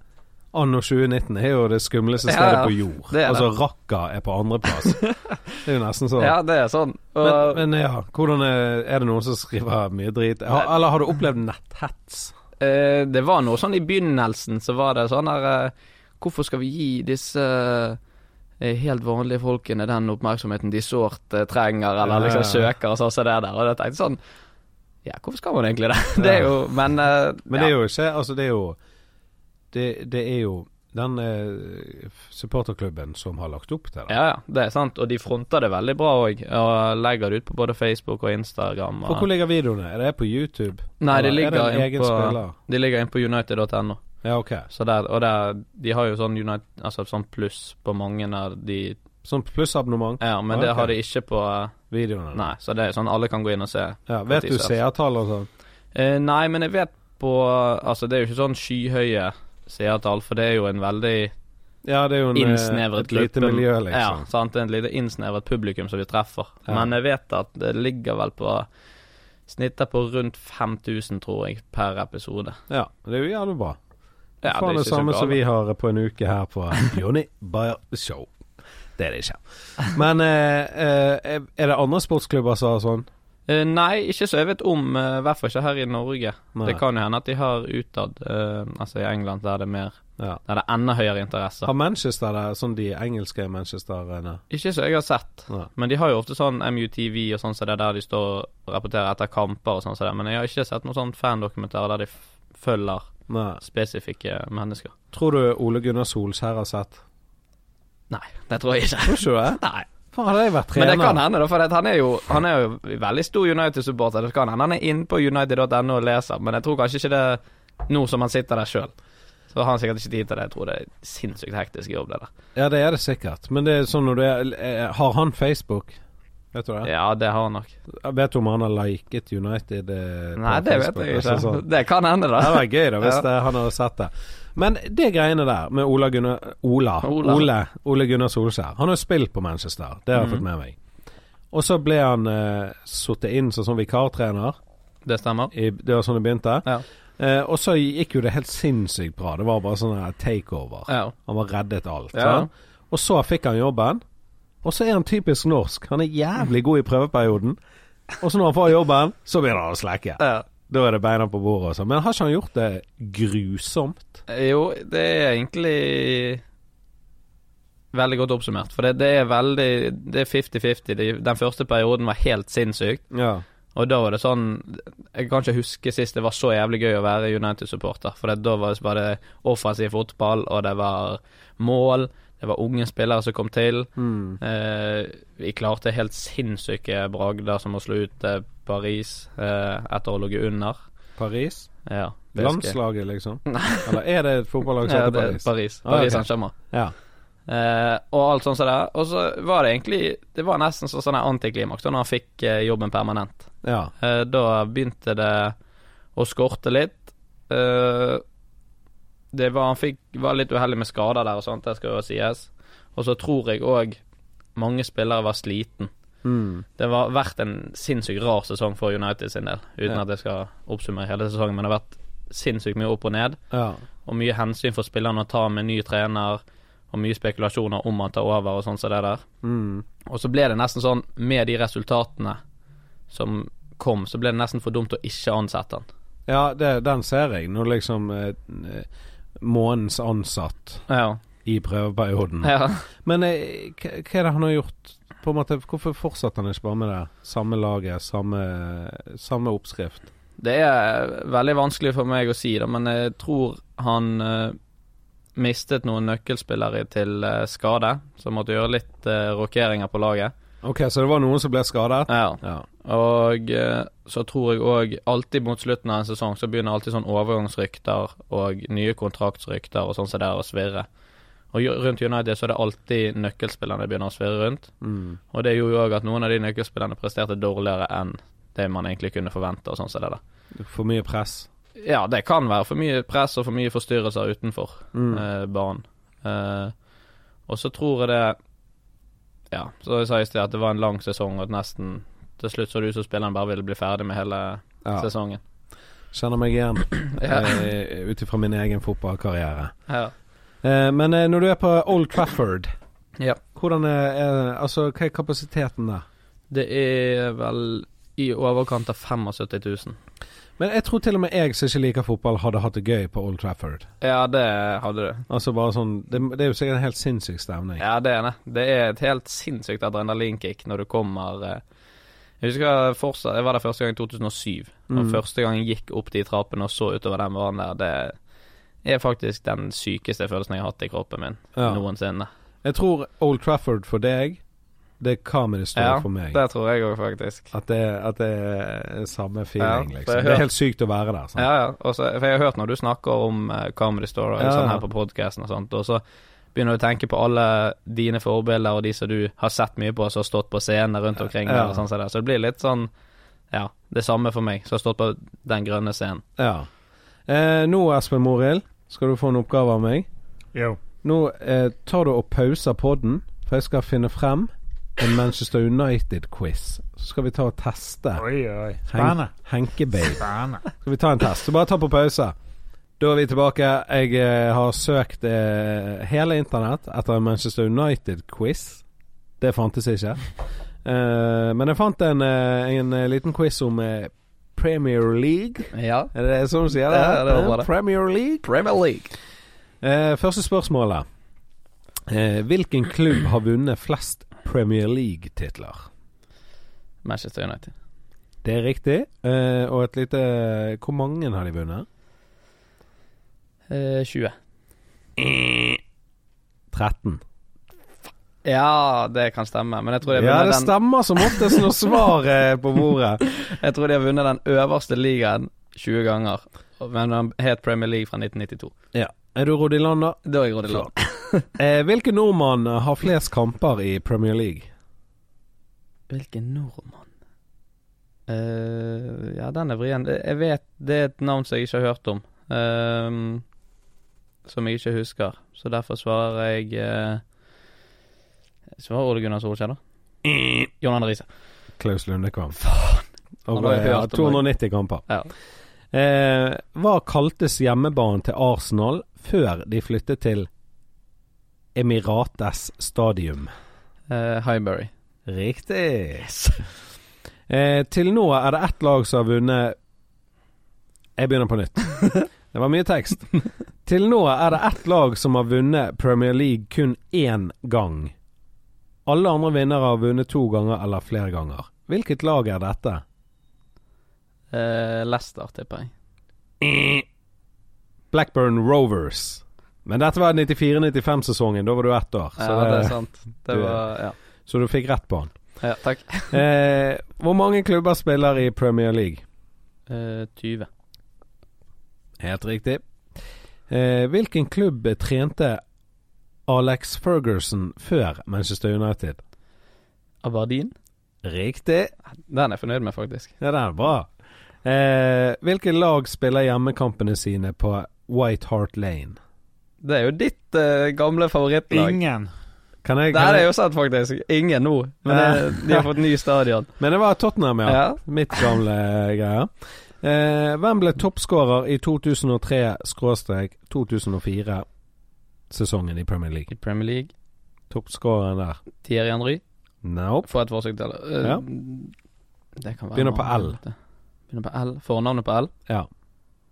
[SPEAKER 2] anno 2019 er jo det skumleste
[SPEAKER 1] Ja,
[SPEAKER 2] stedet
[SPEAKER 1] ja.
[SPEAKER 2] på jord.
[SPEAKER 1] Det er
[SPEAKER 2] altså,
[SPEAKER 1] det.
[SPEAKER 2] Raqqa er på andreplass.
[SPEAKER 1] <laughs>
[SPEAKER 2] det er jo nesten sånn.
[SPEAKER 1] Ja, det er sånn. Og
[SPEAKER 2] Men, men ja, hvordan er, er det noen som skriver mye drit? Har, eller har du opplevd netthets?
[SPEAKER 1] Eh, det var noe sånn i begynnelsen, så var det sånn her eh, Hvorfor skal vi gi disse eh, helt vanlige folkene den oppmerksomheten de sårt eh, trenger, eller
[SPEAKER 2] Ja, ja,
[SPEAKER 1] liksom
[SPEAKER 2] ja.
[SPEAKER 1] søker, og sånn som det der. Og jeg tenkte sånn Ja, hvorfor skal man egentlig det? Det <laughs> er jo Men, eh,
[SPEAKER 2] Men det er jo ikke Altså, det er jo Det, det er jo den eh, supporterklubben som har lagt opp til det.
[SPEAKER 1] ja, ja, det er sant. Og de fronter det veldig bra òg, og legger det ut på både Facebook og Instagram.
[SPEAKER 2] Og hvor
[SPEAKER 1] Og,
[SPEAKER 2] ligger videoene? Er det på YouTube?
[SPEAKER 1] nei, de
[SPEAKER 2] Eller
[SPEAKER 1] ligger
[SPEAKER 2] er det en
[SPEAKER 1] inn
[SPEAKER 2] egen
[SPEAKER 1] på,
[SPEAKER 2] spiller?
[SPEAKER 1] de ligger inn på united.no.
[SPEAKER 2] Ja, ok.
[SPEAKER 1] Så der, og der, de har jo sånn United, altså sånn pluss på mange av de
[SPEAKER 2] Sånn plussabonnement?
[SPEAKER 1] Ja, men
[SPEAKER 2] Ah,
[SPEAKER 1] det
[SPEAKER 2] ok.
[SPEAKER 1] har de ikke på eh,
[SPEAKER 2] Videoene?
[SPEAKER 1] Nei, så det er sånn alle kan gå inn og se.
[SPEAKER 2] Ja,
[SPEAKER 1] At
[SPEAKER 2] vet
[SPEAKER 1] de
[SPEAKER 2] du
[SPEAKER 1] ses.
[SPEAKER 2] seertall og sånn?
[SPEAKER 1] Eh, nei, men jeg vet på Altså, det er jo ikke sånn skyhøye seertall, for det er jo en veldig
[SPEAKER 2] Ja, det er jo en, Sånn, eh,
[SPEAKER 1] innsnevret
[SPEAKER 2] et lite
[SPEAKER 1] gruppe-
[SPEAKER 2] miljø,
[SPEAKER 1] Ja,
[SPEAKER 2] liksom.
[SPEAKER 1] sant. Det er en lite innsnevret publikum som vi treffer.
[SPEAKER 2] Ja.
[SPEAKER 1] Men jeg vet at det ligger vel på Snittet på rundt 5000, tror jeg, per episode.
[SPEAKER 2] Ja, det er jo jævlig bra.
[SPEAKER 1] Ja,
[SPEAKER 2] Faen det,
[SPEAKER 1] ikke så
[SPEAKER 2] samme
[SPEAKER 1] galt.
[SPEAKER 2] som vi har på en uke her
[SPEAKER 1] <laughs>
[SPEAKER 2] på Jonny Bayer Show. Det er det ikke. Men eh, eh, er det andre sportsklubber som har sånn?
[SPEAKER 1] Eh, nei, ikke så jeg vet om. eh, I hvert fall ikke her i Norge.
[SPEAKER 2] Nei.
[SPEAKER 1] Det kan jo hende at de har utad, eh, altså i England, der det er mer
[SPEAKER 2] Ja.
[SPEAKER 1] Der det er enda høyere interesse.
[SPEAKER 2] Har Manchester det, sånn de engelske Manchester-ene?
[SPEAKER 1] Ikke så jeg har sett.
[SPEAKER 2] Nei.
[SPEAKER 1] Men de har jo ofte sånn MUTV og sånn som det der de står og rapporterer etter kamper og sånn som det. Men jeg har ikke sett noen sånn fandokumentar der de f- følger
[SPEAKER 2] Nei.
[SPEAKER 1] spesifikke mennesker.
[SPEAKER 2] Tror du Ole Gunnar Solskjær har sett?
[SPEAKER 1] Nei, det tror jeg ikke.
[SPEAKER 2] Tror ikke du det?
[SPEAKER 1] Nei.
[SPEAKER 2] Faen, hadde jeg vært
[SPEAKER 1] Men
[SPEAKER 2] trener
[SPEAKER 1] det kan hende, da, for at han er jo Han er jo veldig stor United-supporter. Det kan hende han er inne på united.no og leser, men jeg tror kanskje ikke det er nå som han sitter der sjøl. Så har han sikkert ikke tid til det. Jeg tror det er sinnssykt hektisk jobb, det der.
[SPEAKER 2] Ja, det er det sikkert. Men det er sånn når du er eh, Har han Facebook? Vet du det?
[SPEAKER 1] Ja, det har han nok.
[SPEAKER 2] Vet du om han har liket United eh, på
[SPEAKER 1] Nei, det vet
[SPEAKER 2] Facebook?
[SPEAKER 1] jeg
[SPEAKER 2] Altså,
[SPEAKER 1] ikke.
[SPEAKER 2] sånn.
[SPEAKER 1] Det kan hende,
[SPEAKER 2] Det
[SPEAKER 1] da.
[SPEAKER 2] hadde vært gøy da hvis
[SPEAKER 1] Ja.
[SPEAKER 2] det, han hadde sett det. Men det greiene der med Ola Gunnar Ola.
[SPEAKER 1] Ola.
[SPEAKER 2] Ole, Ole Gunnar Solskjær. Han har spilt på Manchester, det har jeg
[SPEAKER 1] Mhm.
[SPEAKER 2] fått med meg. Og så ble han eh, sittet inn som sånn vikartrener.
[SPEAKER 1] Det stemmer.
[SPEAKER 2] I, det var sånn det begynte.
[SPEAKER 1] Ja.
[SPEAKER 2] Eh, og så gikk jo det helt sinnssykt bra. Det var bare sånn her takeover.
[SPEAKER 1] Ja.
[SPEAKER 2] Han var reddet alt.
[SPEAKER 1] Ja.
[SPEAKER 2] sant? Og så fikk han jobben. Og så er han typisk norsk. Han er jævlig god i prøveperioden. Og så når han får jobben, så begynner han å slekke.
[SPEAKER 1] ja.
[SPEAKER 2] Da er det beina på bordet og sånn. Men har ikke han gjort det grusomt?
[SPEAKER 1] Eh, Jo, det er egentlig veldig godt oppsummert. For det, det er veldig Det er 50-50. De- Den første perioden var helt sinnssyk.
[SPEAKER 2] Ja.
[SPEAKER 1] Og da var det sånn Jeg kan ikke huske sist det var så jævlig gøy å være United-supporter. For det, da var det bare offensiv fotball, og det var mål. Det var unge spillere som kom til.
[SPEAKER 2] Mm.
[SPEAKER 1] Eh, vi klarte helt sinnssyke bragder som å slå ut eh, Paris eh, etter å ha ligget under.
[SPEAKER 2] Paris?
[SPEAKER 1] Ja, PSG.
[SPEAKER 2] Landslaget,
[SPEAKER 1] <laughs>
[SPEAKER 2] liksom? Eller er det et fotballag som
[SPEAKER 1] Ja,
[SPEAKER 2] heter
[SPEAKER 1] det er
[SPEAKER 2] Paris?
[SPEAKER 1] Paris.
[SPEAKER 2] Ah, ok.
[SPEAKER 1] Paris Saint-Germain.
[SPEAKER 2] Ja.
[SPEAKER 1] Eh, og alt sånt som det. Og så var det egentlig Det var nesten sånn sånn her antiklimaks da når han fikk eh, jobben permanent.
[SPEAKER 2] ja.
[SPEAKER 1] Eh, da begynte det å skorte litt. Eh, det var Han fikk var litt uheldig med skader der og sånt, det skal jo sies. Og så tror jeg òg mange spillere var sliten.
[SPEAKER 2] Mm.
[SPEAKER 1] Det har vært en sinnssykt rar sesong for United sin del, uten
[SPEAKER 2] Ja.
[SPEAKER 1] at jeg skal oppsummere hele sesongen, men det har vært sinnssykt mye opp og ned
[SPEAKER 2] ja.
[SPEAKER 1] og mye hensyn for spillerne å ta med ny trener, og mye spekulasjoner om han tar over og sånn som det der.
[SPEAKER 2] Mm.
[SPEAKER 1] Og så ble det nesten sånn, med de resultatene som kom, så ble det nesten for dumt å ikke ansette han.
[SPEAKER 2] Ja, det, den ser jeg. Nå liksom eh, eh, Månens ansatt
[SPEAKER 1] Ja.
[SPEAKER 2] i prøveperioden.
[SPEAKER 1] ja.
[SPEAKER 2] Men eh, hva hva er det han har gjort på en måte, hvorfor fortsatte han ikke bare med det? Samme laget, samme, samme oppskrift.
[SPEAKER 1] Det er veldig vanskelig for meg å si, da, men jeg tror han eh, mistet noen nøkkelspillere til eh, skade, så måtte gjøre litt eh, rokeringer på laget.
[SPEAKER 2] Ok, så det var noen som ble skadet?
[SPEAKER 1] Ja.
[SPEAKER 2] Ja.
[SPEAKER 1] Og eh, så tror jeg òg alltid mot slutten av en sesong så begynner alltid sånn overgangsrykter og nye kontraktsrykter og sånn som det er å svirre. Og jo- rundt United så er det alltid nøkkelspillerne begynner å svirre rundt.
[SPEAKER 2] Mm.
[SPEAKER 1] Og det gjorde jo òg at noen av de nøkkelspillerne presterte dårligere enn det man egentlig kunne forvente og sånn som det der.
[SPEAKER 2] For mye press.
[SPEAKER 1] Ja, det kan være for mye press og for mye forstyrrelser utenfor
[SPEAKER 2] Mm.
[SPEAKER 1] eh, banen. Eh, og så tror jeg det Ja, så jeg sa i sted at det var en lang sesong, og at nesten til slutt så det ut som spilleren bare ville bli ferdig med hele
[SPEAKER 2] Ja.
[SPEAKER 1] sesongen.
[SPEAKER 2] Kjenner meg igjen,
[SPEAKER 1] <laughs> Ja.
[SPEAKER 2] eh, ut ifra min egen fotballkarriere.
[SPEAKER 1] Ja.
[SPEAKER 2] Eh, men eh, når du er på Old Trafford,
[SPEAKER 1] Ja.
[SPEAKER 2] hvordan er, er Altså, hva er kapasiteten der?
[SPEAKER 1] Det er vel i overkant av 75 000.
[SPEAKER 2] Men jeg tror til og med jeg som ikke liker fotball, hadde hatt det gøy på Old Trafford.
[SPEAKER 1] Ja, det hadde du.
[SPEAKER 2] Altså bare sånn Det, det er jo sikkert en helt sinnssyk stemning.
[SPEAKER 1] Ja, det er det. Det er et helt sinnssykt adrenalinkick når du kommer eh, Jeg husker fortsatt, jeg var der første gang i 2007. Og
[SPEAKER 2] Mm.
[SPEAKER 1] første gang jeg gikk opp de trappene og så utover den banen der, det er faktisk den sykeste følelsen jeg har hatt i kroppen min
[SPEAKER 2] Ja.
[SPEAKER 1] noensinne.
[SPEAKER 2] Jeg tror Old Trafford for deg, det er Comedy Store
[SPEAKER 1] Ja,
[SPEAKER 2] for meg.
[SPEAKER 1] Det tror jeg òg, faktisk.
[SPEAKER 2] At det, at det er samme feeling,
[SPEAKER 1] Ja, for jeg
[SPEAKER 2] liksom. Det
[SPEAKER 1] hører-
[SPEAKER 2] er helt sykt å være der. Sant?
[SPEAKER 1] Ja, ja. Og så- for jeg har hørt når du snakker om eh, Comedy Store og
[SPEAKER 2] Ja,
[SPEAKER 1] sånn
[SPEAKER 2] ja.
[SPEAKER 1] her på podkasten og sånt, og så begynner du å tenke på alle dine forbilder og de som du har sett mye på som har stått på scenene rundt omkring.
[SPEAKER 2] Ja.
[SPEAKER 1] der og sånn som det. Så det blir litt sånn Ja, det samme for meg, som har stått på den grønne scenen.
[SPEAKER 2] Ja. Eh, nå, Espen Morild, skal du få en oppgave av meg.
[SPEAKER 3] Jo.
[SPEAKER 2] Nå eh, tar du og pauser podden, for jeg skal finne frem en Manchester United-quiz. Så skal vi ta og teste
[SPEAKER 3] Oi, oi.
[SPEAKER 2] Hen
[SPEAKER 3] Spennende.
[SPEAKER 2] Henkebabe.
[SPEAKER 3] Spennende.
[SPEAKER 2] Skal vi ta en test? Så bare ta på pause. Da er vi tilbake. Jeg eh, har søkt eh, hele internett etter en Manchester United-quiz. Det fantes ikke. Eh, men jeg fant en, eh, en eh, liten quiz om eh, Premier League.
[SPEAKER 1] Ja.
[SPEAKER 2] Er det sånn du sier det?
[SPEAKER 1] Ja, det var bra det.
[SPEAKER 2] Premier League.
[SPEAKER 1] Premier League.
[SPEAKER 2] Eh, første spørsmålet. Eh, hvilken klubb har vunnet flest Premier League-titler?
[SPEAKER 1] Manchester United.
[SPEAKER 2] Det er riktig. Eh, og et lite Hvor mange har de vunnet?
[SPEAKER 1] Eh, 20.
[SPEAKER 2] 13.
[SPEAKER 1] Ja, det kan stemme, men jeg tror de
[SPEAKER 2] Ja,
[SPEAKER 1] har
[SPEAKER 2] det
[SPEAKER 1] vunnet,
[SPEAKER 2] stemmer som oftest <laughs> når svaret er på bordet.
[SPEAKER 1] den, jeg tror de har vunnet den øverste ligaen 20 ganger. Og- Men den het Premier League fra 1992.
[SPEAKER 2] Er du Rodilander?
[SPEAKER 1] Da er jeg rådig lov.
[SPEAKER 2] Eh, hvilken nordmann har flest kamper i Premier League?
[SPEAKER 1] Hvilken nordmann? Eh, ja, den er vrien. Det- Jeg vet det er et navn som jeg ikke har hørt om. ehm, som jeg ikke husker. Så derfor svarer jeg eh, jeg Svarer Ole Gunnar Solskjær, da? John Arne Riise.
[SPEAKER 2] Klaus Lundekvam.
[SPEAKER 1] Han
[SPEAKER 2] Og
[SPEAKER 1] har jeg
[SPEAKER 2] eh,
[SPEAKER 1] hørt om
[SPEAKER 2] 290 kamper.
[SPEAKER 1] Ja.
[SPEAKER 2] Eh, hva kaltes hjemmebanen til Arsenal før de flyttet til Emirates Stadium?
[SPEAKER 1] Eh, Highbury.
[SPEAKER 2] Riktig. Eh, til nå er det ett lag som har vunnet Jeg begynner
[SPEAKER 1] <laughs>
[SPEAKER 2] på nytt. Det var mye tekst. Til nå er det ett lag som har vunnet Premier League kun én gang. Alle andre vinnere har vunnet to ganger eller flere ganger. Hvilket lag er dette?
[SPEAKER 1] Eh, Leicester, tipper jeg.
[SPEAKER 2] Blackburn Rovers. Men dette var 94-95-sesongen. Da var du ett år, så,
[SPEAKER 1] Ja, det er
[SPEAKER 2] det,
[SPEAKER 1] sant. Det
[SPEAKER 2] du-
[SPEAKER 1] var Ja,
[SPEAKER 2] så du fikk rett på den.
[SPEAKER 1] ja takk.
[SPEAKER 2] Eh, hvor mange klubber spiller i Premier League?
[SPEAKER 1] Eh, 20.
[SPEAKER 2] Helt riktig. Eh, hvilken klubb trente Alex Ferguson før Manchester United?
[SPEAKER 1] Aberdeen?
[SPEAKER 2] Riktig.
[SPEAKER 1] Den er jeg fornøyd med, faktisk.
[SPEAKER 2] Ja, det er bra. Eh, hvilke lag spiller hjemmekampene sine på White Hart Lane?
[SPEAKER 1] Det er jo ditt eh, gamle favorittlag.
[SPEAKER 3] Ingen.
[SPEAKER 2] Kan jeg,
[SPEAKER 1] Det her
[SPEAKER 2] kan
[SPEAKER 1] er
[SPEAKER 2] jeg,
[SPEAKER 1] jo sant, faktisk. Ingen nå. Men
[SPEAKER 2] Ja.
[SPEAKER 1] eh, de har fått ny stadion.
[SPEAKER 2] men det var Tottenham, <laughs> ja.
[SPEAKER 1] Ja.
[SPEAKER 2] Mitt gamle greie. Eh, hvem ble toppskårer i 2003-2004-sesongen i Premier League?
[SPEAKER 1] I Premier League.
[SPEAKER 2] Toppskåreren der?
[SPEAKER 1] Thierry Henry.
[SPEAKER 2] Nope.
[SPEAKER 1] Få et forsøk til. Eh,
[SPEAKER 2] Ja.
[SPEAKER 1] Det kan være
[SPEAKER 2] Begynner på
[SPEAKER 1] noe
[SPEAKER 2] L.
[SPEAKER 1] annet. Begynner på L. Fornavnet på L.
[SPEAKER 2] Ja.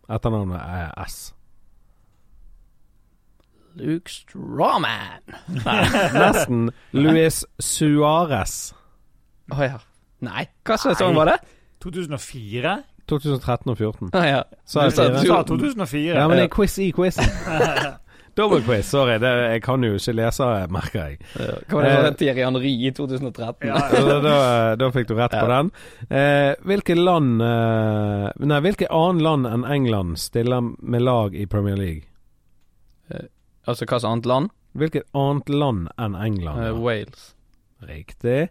[SPEAKER 2] Etternavnet er S.
[SPEAKER 1] Luke Strawman.
[SPEAKER 2] Nesten. Luis Suárez.
[SPEAKER 1] Å ja. Nei, hva slags sang var det?
[SPEAKER 3] 2004?
[SPEAKER 2] 2013 og 2014.
[SPEAKER 1] Å <laughs> ja.
[SPEAKER 2] Sa jeg
[SPEAKER 1] Du sa
[SPEAKER 3] Du
[SPEAKER 2] fire?
[SPEAKER 3] sa 2004.
[SPEAKER 2] Ja, men det er quiz i quiz.
[SPEAKER 1] <laughs>
[SPEAKER 2] Double quiz. Sorry, det, jeg kan jo ikke lese, merker jeg.
[SPEAKER 1] Hva var det
[SPEAKER 2] Eh,
[SPEAKER 1] for Thierry Henry i 2013?
[SPEAKER 3] Ja,
[SPEAKER 2] Så Da, da, da fikk du rett på den. Eh, hvilke land eh, Nei, hvilke annet land enn England stiller med lag i Premier League?
[SPEAKER 1] Altså hva slags annet land?
[SPEAKER 2] Hvilket annet land enn England?
[SPEAKER 1] Eh,
[SPEAKER 2] ja?
[SPEAKER 1] Wales.
[SPEAKER 2] Riktig.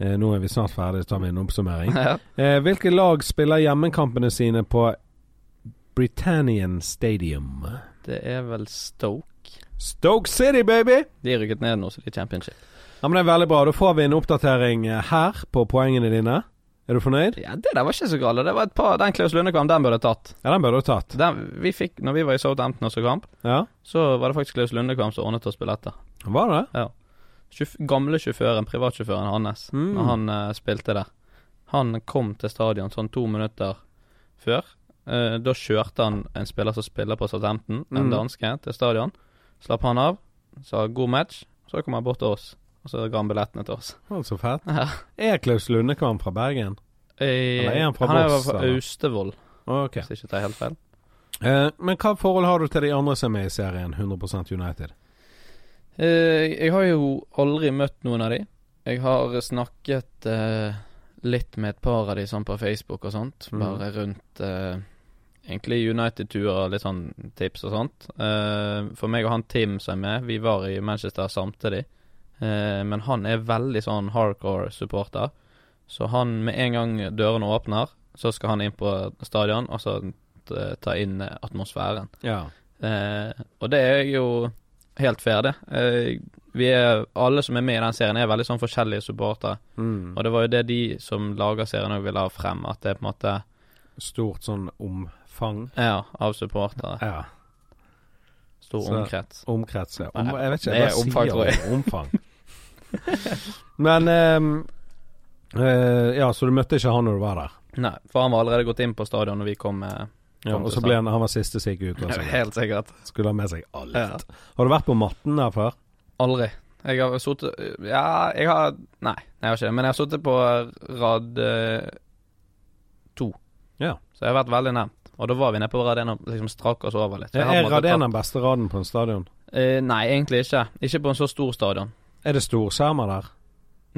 [SPEAKER 2] Eh, nå er vi snart ferdig, så tar vi
[SPEAKER 1] <laughs>
[SPEAKER 2] en oppsummering.
[SPEAKER 1] Ja.
[SPEAKER 2] Eh, hvilke lag spiller hjemmekampene sine på Britannian Stadium?
[SPEAKER 1] Det er vel Stoke.
[SPEAKER 2] Stoke City, baby!
[SPEAKER 1] De er rykket ned nå, så de er championship.
[SPEAKER 2] Ja, men Det er veldig bra. Da får vi en oppdatering eh, her på poengene dine. Er du fornøyd?
[SPEAKER 1] Ja, Det der var ikke så galt. Det var et par Den Klaus Lundekvam, den burde jeg tatt.
[SPEAKER 2] Ja, den burde du tatt.
[SPEAKER 1] Den, vi fikk, når vi var i Southampton og så kamp,
[SPEAKER 2] Ja,
[SPEAKER 1] så var det faktisk Klaus Lundekvam som ordnet oss billetter.
[SPEAKER 2] Var det?
[SPEAKER 1] Sjuf- Gamle sjåføren, privatsjåføren hans,
[SPEAKER 2] Mm.
[SPEAKER 1] når han eh, spilte der. Han kom til stadion sånn to minutter før. Eh, da kjørte han en spiller som spiller på Southampton, en
[SPEAKER 2] Mm.
[SPEAKER 1] danske, til stadion. Slapp han av, sa 'god match', så kom han bort til oss, og så ga han billettene til oss. <laughs>
[SPEAKER 2] Å, Så fett.
[SPEAKER 1] Ja.
[SPEAKER 2] Er Klaus Lundekvam fra Bergen?
[SPEAKER 1] Eh,
[SPEAKER 2] Eller er han fra
[SPEAKER 1] han er
[SPEAKER 2] Voss,
[SPEAKER 1] fra
[SPEAKER 2] eller?
[SPEAKER 1] Austevoll,
[SPEAKER 2] Ok.
[SPEAKER 1] hvis jeg ikke tar helt feil.
[SPEAKER 2] Eh, men hva forhold har du til de andre som er i serien, 100 United?
[SPEAKER 1] Eh, jeg har jo aldri møtt noen av de. Jeg har snakket eh, litt med et par av de sånn på Facebook og sånt,
[SPEAKER 2] Mhm.
[SPEAKER 1] bare rundt eh, egentlig United-turer, litt sånn tips og sånt. Eh, for meg og han Tim som er med, vi var i Manchester samtidig. Eh, men han er veldig sånn hardcore supporter, så han med en gang dørene åpner, så skal han inn på stadion og så eh, ta inn eh, atmosfæren.
[SPEAKER 2] Ja.
[SPEAKER 1] Eh, og det er jo helt fair, det. Eh, vi er, alle som er med i den serien, er veldig sånn forskjellige supportere.
[SPEAKER 2] Mm.
[SPEAKER 1] Og det var jo det de som lager serien òg ville ha frem, at det er på en måte
[SPEAKER 2] Stort sånn omfang.
[SPEAKER 1] Ja, av supportere.
[SPEAKER 2] Ja.
[SPEAKER 1] Stor
[SPEAKER 2] Så-
[SPEAKER 1] omkrets.
[SPEAKER 2] Omkrets, ja. Om,
[SPEAKER 1] Nei,
[SPEAKER 2] jeg vet ikke,
[SPEAKER 1] det er
[SPEAKER 2] jeg bare
[SPEAKER 1] omfang,
[SPEAKER 2] sier
[SPEAKER 1] tror jeg.
[SPEAKER 2] om- Omfang. <laughs> Men ehm, eh, Ja, så du møtte ikke han når du var der?
[SPEAKER 1] Nei, for han var allerede gått inn på stadion når vi kom. Eh,
[SPEAKER 2] Ja, og så ble han, han var siste som gikk ut. og så
[SPEAKER 1] helt sikkert.
[SPEAKER 2] Skulle ha med seg alt.
[SPEAKER 1] Ja.
[SPEAKER 2] Har du vært på matten der før?
[SPEAKER 1] Aldri. Jeg har sittet Ja, jeg har Nei, jeg har ikke det. Men jeg har sittet på rad eh, to.
[SPEAKER 2] Ja.
[SPEAKER 1] Så jeg har vært veldig nevnt. Og da var vi nede på rad én og liksom strakk oss over litt. Så jeg har på en
[SPEAKER 2] Er
[SPEAKER 1] måte tatt-
[SPEAKER 2] Raden den beste raden på en stadion?
[SPEAKER 1] Eh, nei, egentlig ikke. Ikke på en så stor stadion.
[SPEAKER 2] Er det storskjermer der?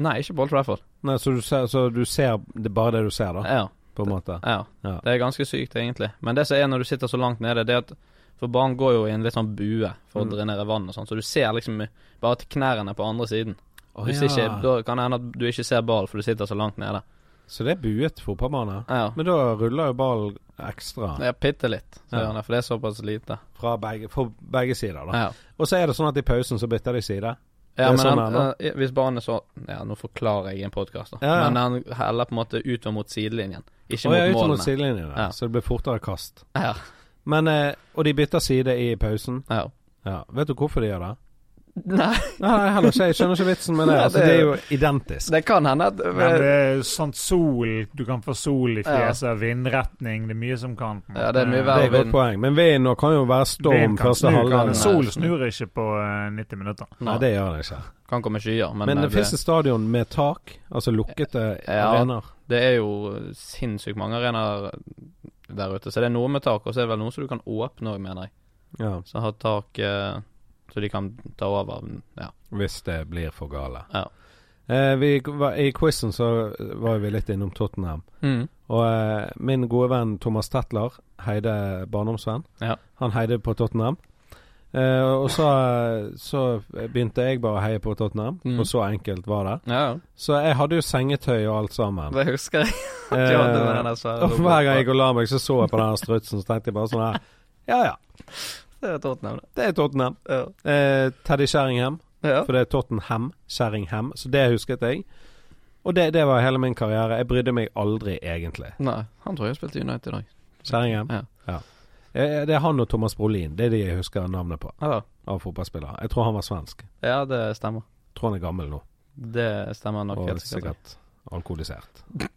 [SPEAKER 1] Nei, ikke på Old Trafford.
[SPEAKER 2] Nei, så du ser, så du ser det er bare det du ser, da?
[SPEAKER 1] Ja,
[SPEAKER 2] På en måte.
[SPEAKER 1] ja.
[SPEAKER 2] Ja.
[SPEAKER 1] Det er ganske sykt, egentlig. Men det som er når du sitter så langt nede, det er at For banen går jo i en litt sånn bue for å
[SPEAKER 2] Mm.
[SPEAKER 1] drenere vann og sånn, så du ser liksom bare til knærne på andre siden.
[SPEAKER 2] Å,
[SPEAKER 1] Hvis
[SPEAKER 2] ja.
[SPEAKER 1] ikke, Da kan det hende at du ikke ser ball, for du sitter så langt nede.
[SPEAKER 2] Så det er buet fotballbane?
[SPEAKER 1] Ja,
[SPEAKER 2] Men da ruller jo ballen ekstra
[SPEAKER 1] ja bitte litt, så
[SPEAKER 2] Ja.
[SPEAKER 1] gjør det, for det er såpass lite.
[SPEAKER 2] fra begge, for begge sider. da
[SPEAKER 1] Ja.
[SPEAKER 2] Og så er det sånn at i pausen så bytter de side.
[SPEAKER 1] Ja,
[SPEAKER 2] Det er
[SPEAKER 1] men
[SPEAKER 2] sånn
[SPEAKER 1] han,
[SPEAKER 2] det
[SPEAKER 1] eh, hvis banen er så Ja, nå forklarer jeg i en podkast, da.
[SPEAKER 2] Ja, ja.
[SPEAKER 1] Men han heller på en måte utover mot sidelinjen, ikke
[SPEAKER 2] Og
[SPEAKER 1] mot
[SPEAKER 2] jeg er ute mot
[SPEAKER 1] målene.
[SPEAKER 2] sidelinjen, der,
[SPEAKER 1] Ja.
[SPEAKER 2] så det blir fortere kast.
[SPEAKER 1] Ja,
[SPEAKER 2] Men, eh, Og de bytter side i pausen.
[SPEAKER 1] ja. <laughs>
[SPEAKER 2] Ja, Vet du hvorfor de gjør det?
[SPEAKER 1] Nei,
[SPEAKER 2] Nei, heller ikke. Jeg skjønner ikke vitsen
[SPEAKER 1] <laughs>
[SPEAKER 2] med det.
[SPEAKER 1] Nei,
[SPEAKER 2] Altså,
[SPEAKER 1] det
[SPEAKER 2] det
[SPEAKER 1] er
[SPEAKER 2] er
[SPEAKER 1] jo-
[SPEAKER 2] jo identisk.
[SPEAKER 1] det kan hende at
[SPEAKER 3] Men det er sånn sol Du kan få sol i fjeset, vindretning Det er mye som kan på en
[SPEAKER 1] Ja, det er
[SPEAKER 3] måte.
[SPEAKER 1] mye
[SPEAKER 2] Det
[SPEAKER 1] vær.
[SPEAKER 2] er et godt
[SPEAKER 1] Vind.
[SPEAKER 2] poeng. Men vinden nå kan jo være storm
[SPEAKER 3] Vind kan
[SPEAKER 2] første
[SPEAKER 3] snu,
[SPEAKER 2] halvdel.
[SPEAKER 3] kan- Sol snur ikke på eh, 90 minutter.
[SPEAKER 2] Nei, det gjør det ikke.
[SPEAKER 1] Kan komme skyer, men,
[SPEAKER 2] Men
[SPEAKER 1] eh,
[SPEAKER 2] det fins et stadion med tak, altså lukkete
[SPEAKER 1] Ja.
[SPEAKER 2] arenaer.
[SPEAKER 1] det er jo sinnssykt mange arenaer der ute. Så det er noe med tak, og så er det vel noe som du kan åpne òg, mener jeg.
[SPEAKER 2] Ja,
[SPEAKER 1] Så har tak eh, så de kan ta over. Ja.
[SPEAKER 2] hvis det blir for gale.
[SPEAKER 1] Ja.
[SPEAKER 2] Eh, vi, var- I quizen så var vi litt innom Tottenham.
[SPEAKER 1] Mm.
[SPEAKER 2] Og eh, min gode venn Thomas Tetler, Heide barndomsvenn,
[SPEAKER 1] Ja.
[SPEAKER 2] han heide på Tottenham. Eh, og så, så begynte jeg bare å heie på Tottenham,
[SPEAKER 1] Mm.
[SPEAKER 2] og så enkelt var det.
[SPEAKER 1] ja, ja.
[SPEAKER 2] Så jeg hadde jo sengetøy og alt sammen.
[SPEAKER 1] det husker jeg.
[SPEAKER 2] Eh,
[SPEAKER 1] Ja, det var den der svære
[SPEAKER 2] og hver gang jeg gikk og la meg, så så jeg på den strutsen, så tenkte jeg bare sånn her Ja ja,
[SPEAKER 1] Det er Tottenham, det.
[SPEAKER 2] det er Tottenham.
[SPEAKER 1] Ja.
[SPEAKER 2] Eh, Teddy Sheringham,
[SPEAKER 1] Ja.
[SPEAKER 2] for det er Tottenham Sheringham, så det husket jeg. Og det, det var hele min karriere. Jeg brydde meg aldri, egentlig.
[SPEAKER 1] Nei, han tror jeg spilte i United i dag.
[SPEAKER 2] Sheringham.
[SPEAKER 1] Ja.
[SPEAKER 2] Eh, Det er han og Thomas Brolin. Det er de jeg husker navnet på
[SPEAKER 1] Ja,
[SPEAKER 2] av fotballspillere. Jeg tror han var svensk.
[SPEAKER 1] ja det stemmer.
[SPEAKER 2] Jeg tror han er gammel nå,
[SPEAKER 1] Det stemmer nok
[SPEAKER 2] og
[SPEAKER 1] helt sikkert.
[SPEAKER 2] sikkert alkoholisert.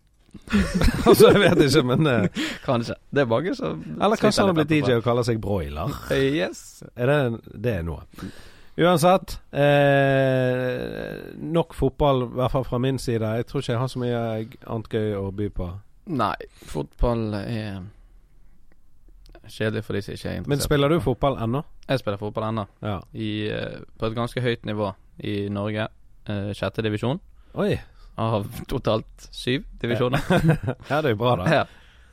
[SPEAKER 2] <laughs> altså, jeg vet ikke, men eh,
[SPEAKER 1] Kanskje. Det er mange som
[SPEAKER 2] Eller kanskje han har blitt DJ
[SPEAKER 1] sliter litt etterpå.
[SPEAKER 2] og kaller seg broiler.
[SPEAKER 1] Eh, Yes.
[SPEAKER 2] Er det, det er noe. Uansett, eh, nok fotball, i hvert fall fra min side. Jeg tror ikke jeg har så mye annet gøy å by på.
[SPEAKER 1] Nei, fotball er kjedelig for de som ikke er interessert.
[SPEAKER 2] Men spiller du fotball ennå?
[SPEAKER 1] Jeg spiller fotball ennå,
[SPEAKER 2] Ja.
[SPEAKER 1] i, eh, på et ganske høyt nivå i Norge. Eh, Sjette divisjon
[SPEAKER 2] Oi.
[SPEAKER 1] av totalt syv divisjoner
[SPEAKER 2] Ja, det er jo bra, da.
[SPEAKER 1] her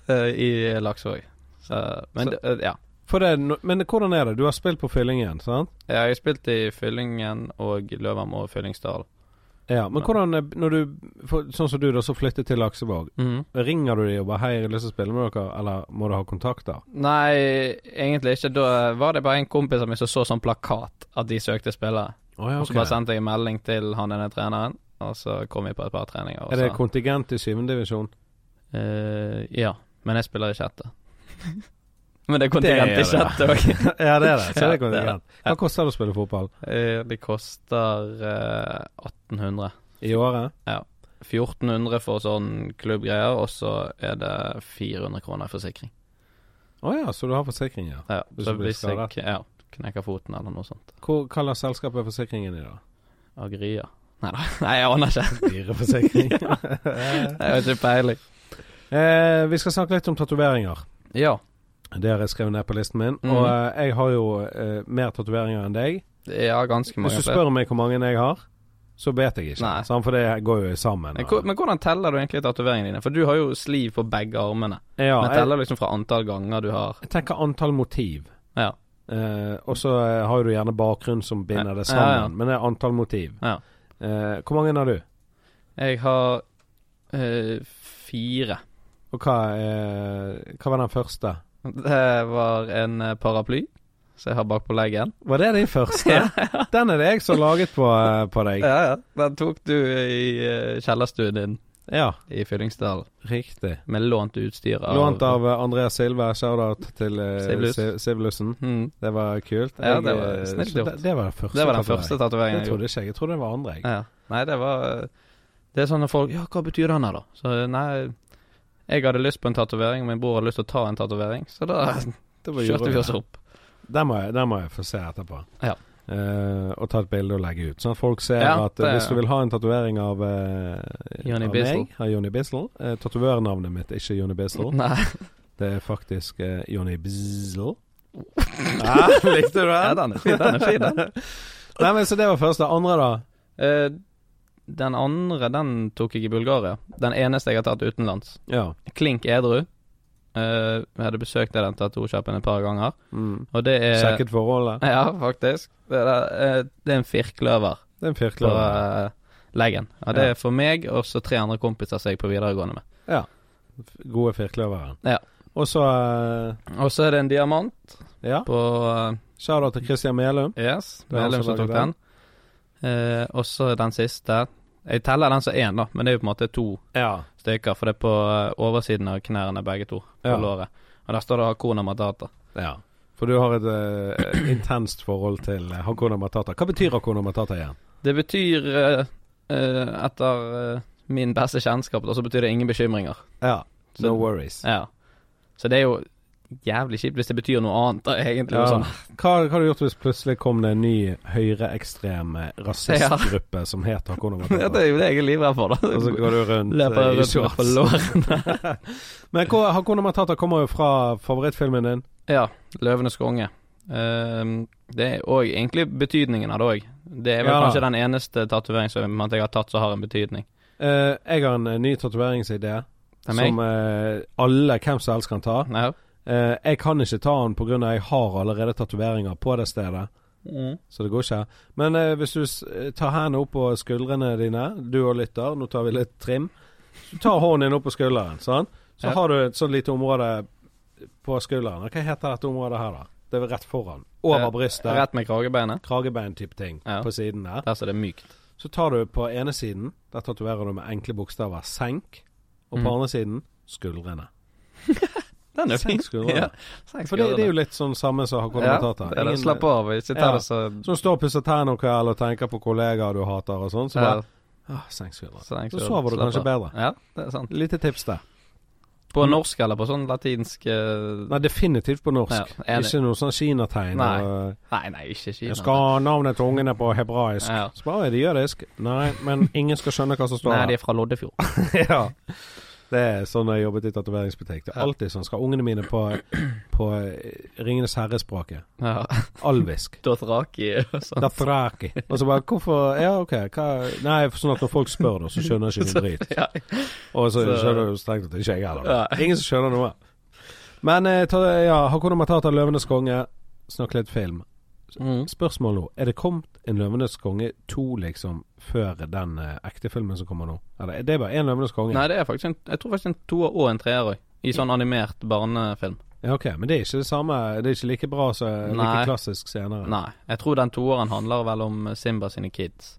[SPEAKER 1] <laughs> eh, i Laksevåg. Så, men
[SPEAKER 2] Så-
[SPEAKER 1] det- eh, ja.
[SPEAKER 2] <laughs> For det, er no- men hvordan er det? Du har spilt på Fyllingen, sant?
[SPEAKER 1] Jeg har spilt i Fyllingen og Løvam og Fyllingsdalen.
[SPEAKER 2] Ja, men hvordan er- når du for, Sånn som du, da, som flyttet til Laksevåg.
[SPEAKER 1] Mhm.
[SPEAKER 2] Ringer du de og bare 'Hei, jeg har lyst til å spille med dere', eller må du ha kontakter?
[SPEAKER 1] Nei, egentlig ikke. Da var det bare en kompis av meg som så sånn plakat at de søkte spillere.
[SPEAKER 2] Oh, ja,
[SPEAKER 1] Og så bare sendte jeg en melding til han ene treneren, og så kom vi på et par treninger. Og
[SPEAKER 2] Er det
[SPEAKER 1] så-
[SPEAKER 2] kontingent i syvende <laughs> divisjon?
[SPEAKER 1] Eh, ja, men jeg spiller i sjette. <laughs> men det er kontingent i
[SPEAKER 2] Det er det.
[SPEAKER 1] sjette òg.
[SPEAKER 2] ja, det er det. <laughs> Så
[SPEAKER 1] Ja,
[SPEAKER 2] er det
[SPEAKER 1] det er
[SPEAKER 2] kontingent. Hva koster det å spille fotball?
[SPEAKER 1] Eh, Det koster eh, 1800.
[SPEAKER 2] I året?
[SPEAKER 1] 1400 for sånn klubbgreier, og så er det 400 kroner i forsikring.
[SPEAKER 2] Å ja, så du har forsikring, ja.
[SPEAKER 1] Ja,
[SPEAKER 2] Hvis
[SPEAKER 1] så
[SPEAKER 2] du blir
[SPEAKER 1] hvis jeg
[SPEAKER 2] skadet.
[SPEAKER 1] ja, knekker foten eller noe sånt.
[SPEAKER 2] Hvor, hva slags selskap er forsikringen i, da? <laughs>
[SPEAKER 1] Agria. Nei da, <laughs> nei, jeg aner ikke.
[SPEAKER 2] <laughs> Dyreforsikring.
[SPEAKER 1] Jeg har ikke peiling.
[SPEAKER 2] eh, vi skal snakke litt om tatoveringer.
[SPEAKER 1] Ja,
[SPEAKER 2] Det har jeg skrevet ned på listen min.
[SPEAKER 1] Mhm.
[SPEAKER 2] Og eh, jeg har jo eh, mer tatoveringer enn deg.
[SPEAKER 1] det er ganske mange
[SPEAKER 2] Hvis du spør meg hvor mange jeg har, så vet jeg ikke.
[SPEAKER 1] Nei.
[SPEAKER 2] sant? For det går jo sammen.
[SPEAKER 1] Men hvor- Men hvordan teller du egentlig tatoveringene dine? For du har jo sliv på begge armene.
[SPEAKER 2] ja,
[SPEAKER 1] men
[SPEAKER 2] jeg,
[SPEAKER 1] teller liksom fra antall ganger du har
[SPEAKER 2] jeg tenker antall motiv.
[SPEAKER 1] Ja.
[SPEAKER 2] Eh, og så eh, har du gjerne bakgrunn som binder det
[SPEAKER 1] Ja,
[SPEAKER 2] sammen.
[SPEAKER 1] ja.
[SPEAKER 2] Men det er antall motiv.
[SPEAKER 1] Ja.
[SPEAKER 2] Eh, hvor mange har du?
[SPEAKER 1] Jeg har eh, fire.
[SPEAKER 2] Og hva, eh, hva var den første?
[SPEAKER 1] Det var en eh, paraply som jeg har bakpå leggen. <laughs>
[SPEAKER 2] Var det din første? Den er det jeg som har laget på, eh, på deg.
[SPEAKER 1] Ja, ja. Den tok du i eh, kjellerstuen din
[SPEAKER 2] Ja,
[SPEAKER 1] i Fyllingsdalen.
[SPEAKER 2] riktig.
[SPEAKER 1] Med lånt utstyr av
[SPEAKER 2] Lånt av eh, Andreas Silve. Shout-out til eh,
[SPEAKER 1] Sivlus.
[SPEAKER 2] Siv- Sivlussen.
[SPEAKER 1] Mm.
[SPEAKER 2] Det var kult.
[SPEAKER 1] Ja, det var
[SPEAKER 2] eh,
[SPEAKER 1] snilt
[SPEAKER 2] så
[SPEAKER 1] gjort.
[SPEAKER 2] Det, det var den første.
[SPEAKER 1] Det var den
[SPEAKER 2] tatoveringen.
[SPEAKER 1] første tatoveringen
[SPEAKER 2] Det
[SPEAKER 1] jeg
[SPEAKER 2] trodde
[SPEAKER 1] gjorde.
[SPEAKER 2] ikke jeg. Jeg trodde det var andre. Jeg.
[SPEAKER 1] Ja. Nei, det var eh, Det er sånn at folk Ja, hva betyr den her, da? Så eh, nei Jeg hadde lyst på en tatovering, og min bror hadde lyst til å ta en tatovering, så da <laughs>
[SPEAKER 2] Det var
[SPEAKER 1] kjørte vi
[SPEAKER 2] jorda.
[SPEAKER 1] oss opp.
[SPEAKER 2] Den må, jeg, den må jeg få se etterpå.
[SPEAKER 1] Ja.
[SPEAKER 2] Eh, og ta et bilde og legge ut. Sånn at folk ser
[SPEAKER 1] Ja,
[SPEAKER 2] at
[SPEAKER 1] det-
[SPEAKER 2] eh, hvis du vil ha en tatovering av, eh,
[SPEAKER 1] Johnny
[SPEAKER 2] av
[SPEAKER 1] Bissell.
[SPEAKER 2] meg, av Johnny Bissell eh, Tatovørnavnet mitt er ikke Johnny Bissell.
[SPEAKER 1] Nei,
[SPEAKER 2] Det er faktisk eh, Johnny
[SPEAKER 1] <laughs>
[SPEAKER 2] Bizzle. ja, likte du det?
[SPEAKER 1] ja, den er fin, Ah, den er fin, den. <laughs>
[SPEAKER 2] <laughs> Nei, men Så det var første. Andre, da?
[SPEAKER 1] Eh, den andre, den tok jeg i Bulgaria. Den eneste jeg har tatt utenlands.
[SPEAKER 2] Ja.
[SPEAKER 1] klink edru. Eh, jeg hadde besøkt den tatovsjappen et par ganger,
[SPEAKER 2] Mm.
[SPEAKER 1] og det er
[SPEAKER 2] Sjekket forholdet.
[SPEAKER 1] <laughs> Ja, faktisk. Det er, eh, det er en firkløver
[SPEAKER 2] Det er en
[SPEAKER 1] på
[SPEAKER 2] firkløver.
[SPEAKER 1] eh, leggen. Ja, det er for meg og så tre andre kompiser som jeg er på videregående med.
[SPEAKER 2] Gode firkløveren.
[SPEAKER 1] Ja.
[SPEAKER 2] Og så eh,
[SPEAKER 1] Og så er det en diamant
[SPEAKER 2] Ja.
[SPEAKER 1] på
[SPEAKER 2] Shout-out til Christian Melum.
[SPEAKER 1] eh, Yes,
[SPEAKER 2] Det er han
[SPEAKER 1] Melum
[SPEAKER 2] som
[SPEAKER 1] som tok
[SPEAKER 2] lager
[SPEAKER 1] den. Eh, og så den siste. Jeg teller den som én, da, men det er jo på en måte to
[SPEAKER 2] Ja.
[SPEAKER 1] stykker, for det er på eh, oversiden av knærne begge to, på
[SPEAKER 2] Ja.
[SPEAKER 1] låret. Og der står det Hakuna Matata.
[SPEAKER 2] ja. For du har et eh, intenst forhold til eh, Hakuna Matata. Hva betyr Hakuna Matata igjen?
[SPEAKER 1] Det betyr, eh, eh, etter eh, min beste kjennskap, da, så betyr det ingen bekymringer.
[SPEAKER 2] Ja.
[SPEAKER 1] Så,
[SPEAKER 2] No worries.
[SPEAKER 1] ja. så det er jo jævlig kjipt hvis det betyr noe annet, da, egentlig.
[SPEAKER 2] Ja.
[SPEAKER 1] og Sånn. <laughs>
[SPEAKER 2] Hva, hva hadde du gjort hvis plutselig kom det en ny høyreekstrem eh, rasistgruppe som het Hakuna
[SPEAKER 1] Det <laughs>
[SPEAKER 2] Matata?
[SPEAKER 1] er jo det jeg er livredd for, da.
[SPEAKER 2] Og så går du rundt
[SPEAKER 1] Løper
[SPEAKER 2] eh, i
[SPEAKER 1] rundt med på
[SPEAKER 2] shorts.
[SPEAKER 1] lårene.
[SPEAKER 2] <laughs> Men hva- Hakuna Matata kommer jo fra favorittfilmen din.
[SPEAKER 1] Ja. 'Løvenes konge'. Ehm, det er òg egentlig betydningen av det òg. Det er vel
[SPEAKER 2] Ja.
[SPEAKER 1] kanskje den eneste tatovering som at jeg har tatt som har en betydning.
[SPEAKER 2] Eh, jeg har en eh, ny tatoveringsidé
[SPEAKER 1] Det er Mhm. meg.
[SPEAKER 2] som eh, alle hvem som helst kan ta.
[SPEAKER 1] Ja.
[SPEAKER 2] Eh, jeg kan ikke ta den pga. jeg har allerede tatoveringer på det stedet. Så det går ikke. Men eh, hvis du s tar hendene opp på skuldrene dine, du og lytter, nå tar vi litt trim. Du tar hånden din opp på skulderen, sant? så
[SPEAKER 1] Ja.
[SPEAKER 2] har du et sånt lite område på skulderen. Hva heter dette området her, da? Det er vel rett foran. Over
[SPEAKER 1] Eh,
[SPEAKER 2] brystet.
[SPEAKER 1] Rett med kragebeinet.
[SPEAKER 2] Kragebein-type ting
[SPEAKER 1] Ja.
[SPEAKER 2] på siden der.
[SPEAKER 1] Der så det er mykt.
[SPEAKER 2] Så tar du på ene siden, der tatoverer du med enkle bokstaver 'senk', og på
[SPEAKER 1] Mm.
[SPEAKER 2] andre siden skuldrene.
[SPEAKER 1] Den er fin.
[SPEAKER 2] Senk skuldrene.
[SPEAKER 1] Ja.
[SPEAKER 2] For det, det er jo litt sånn samme som har kommentata.
[SPEAKER 1] Ja, eller slapp av, ikke ta
[SPEAKER 2] Ja.
[SPEAKER 1] det så
[SPEAKER 2] Som står og pusser tennene og kveld og tenker på kollegaer du hater og sånn. Så
[SPEAKER 1] ja.
[SPEAKER 2] bare Ah, Senkskvelder.
[SPEAKER 1] Så jeg
[SPEAKER 2] Så
[SPEAKER 1] skal
[SPEAKER 2] sover du
[SPEAKER 1] slappe
[SPEAKER 2] kanskje
[SPEAKER 1] av.
[SPEAKER 2] bedre.
[SPEAKER 1] Ja, det er sant.
[SPEAKER 2] Lite tips der.
[SPEAKER 1] På norsk eller på sånn latinsk eh,
[SPEAKER 2] Nei, definitivt på norsk.
[SPEAKER 1] Ja, enig.
[SPEAKER 2] ikke noe sånn kinategn.
[SPEAKER 1] Nei.
[SPEAKER 2] og,
[SPEAKER 1] Nei, nei, ikke
[SPEAKER 2] eh,
[SPEAKER 1] Kina.
[SPEAKER 2] Jeg skal ha navnet til ungene på hebraisk.
[SPEAKER 1] Ja.
[SPEAKER 2] Så bare er det jødisk. Nei, men ingen skal skjønne hva som står
[SPEAKER 1] Nei,
[SPEAKER 2] her.
[SPEAKER 1] de er fra Loddefjord.
[SPEAKER 2] <laughs> ja. Det er sånn jeg jobbet i tatoveringsbutikk. Det er
[SPEAKER 1] Ja.
[SPEAKER 2] alltid sånn. Skal ungene mine på, på eh, Ringenes herre-språket?
[SPEAKER 1] Ja.
[SPEAKER 2] Alvisk.
[SPEAKER 1] Dothraki og sånn.
[SPEAKER 2] Dathraki. Og så bare Hvorfor Ja, OK. Hva Nei, for sånn at når folk spør, da, <laughs> så skjønner ikke de drit.
[SPEAKER 1] Ja.
[SPEAKER 2] Og så
[SPEAKER 1] Så-
[SPEAKER 2] skjønner jo strengt tatt ikke jeg heller.
[SPEAKER 1] Ja.
[SPEAKER 2] Ingen som skjønner noe. Men eh, ta, ja, Hakuna Matata, 'Løvenes konge'. Snakk litt film.
[SPEAKER 1] Mm.
[SPEAKER 2] Spørsmål nå. Er det kommet en 'Løvenes konge 2', liksom, før den eh, ekte filmen som kommer nå? Eller er det bare én 'Løvenes konge'?
[SPEAKER 1] Nei, det er faktisk en, jeg tror faktisk en toer og en treer òg. I sånn animert barnefilm.
[SPEAKER 2] Ja, ok, Men det er ikke det samme Det er ikke like bra som eh, like
[SPEAKER 1] Nei.
[SPEAKER 2] klassisk senere.
[SPEAKER 1] Nei. Jeg tror den toeren handler vel om Simba sine kids.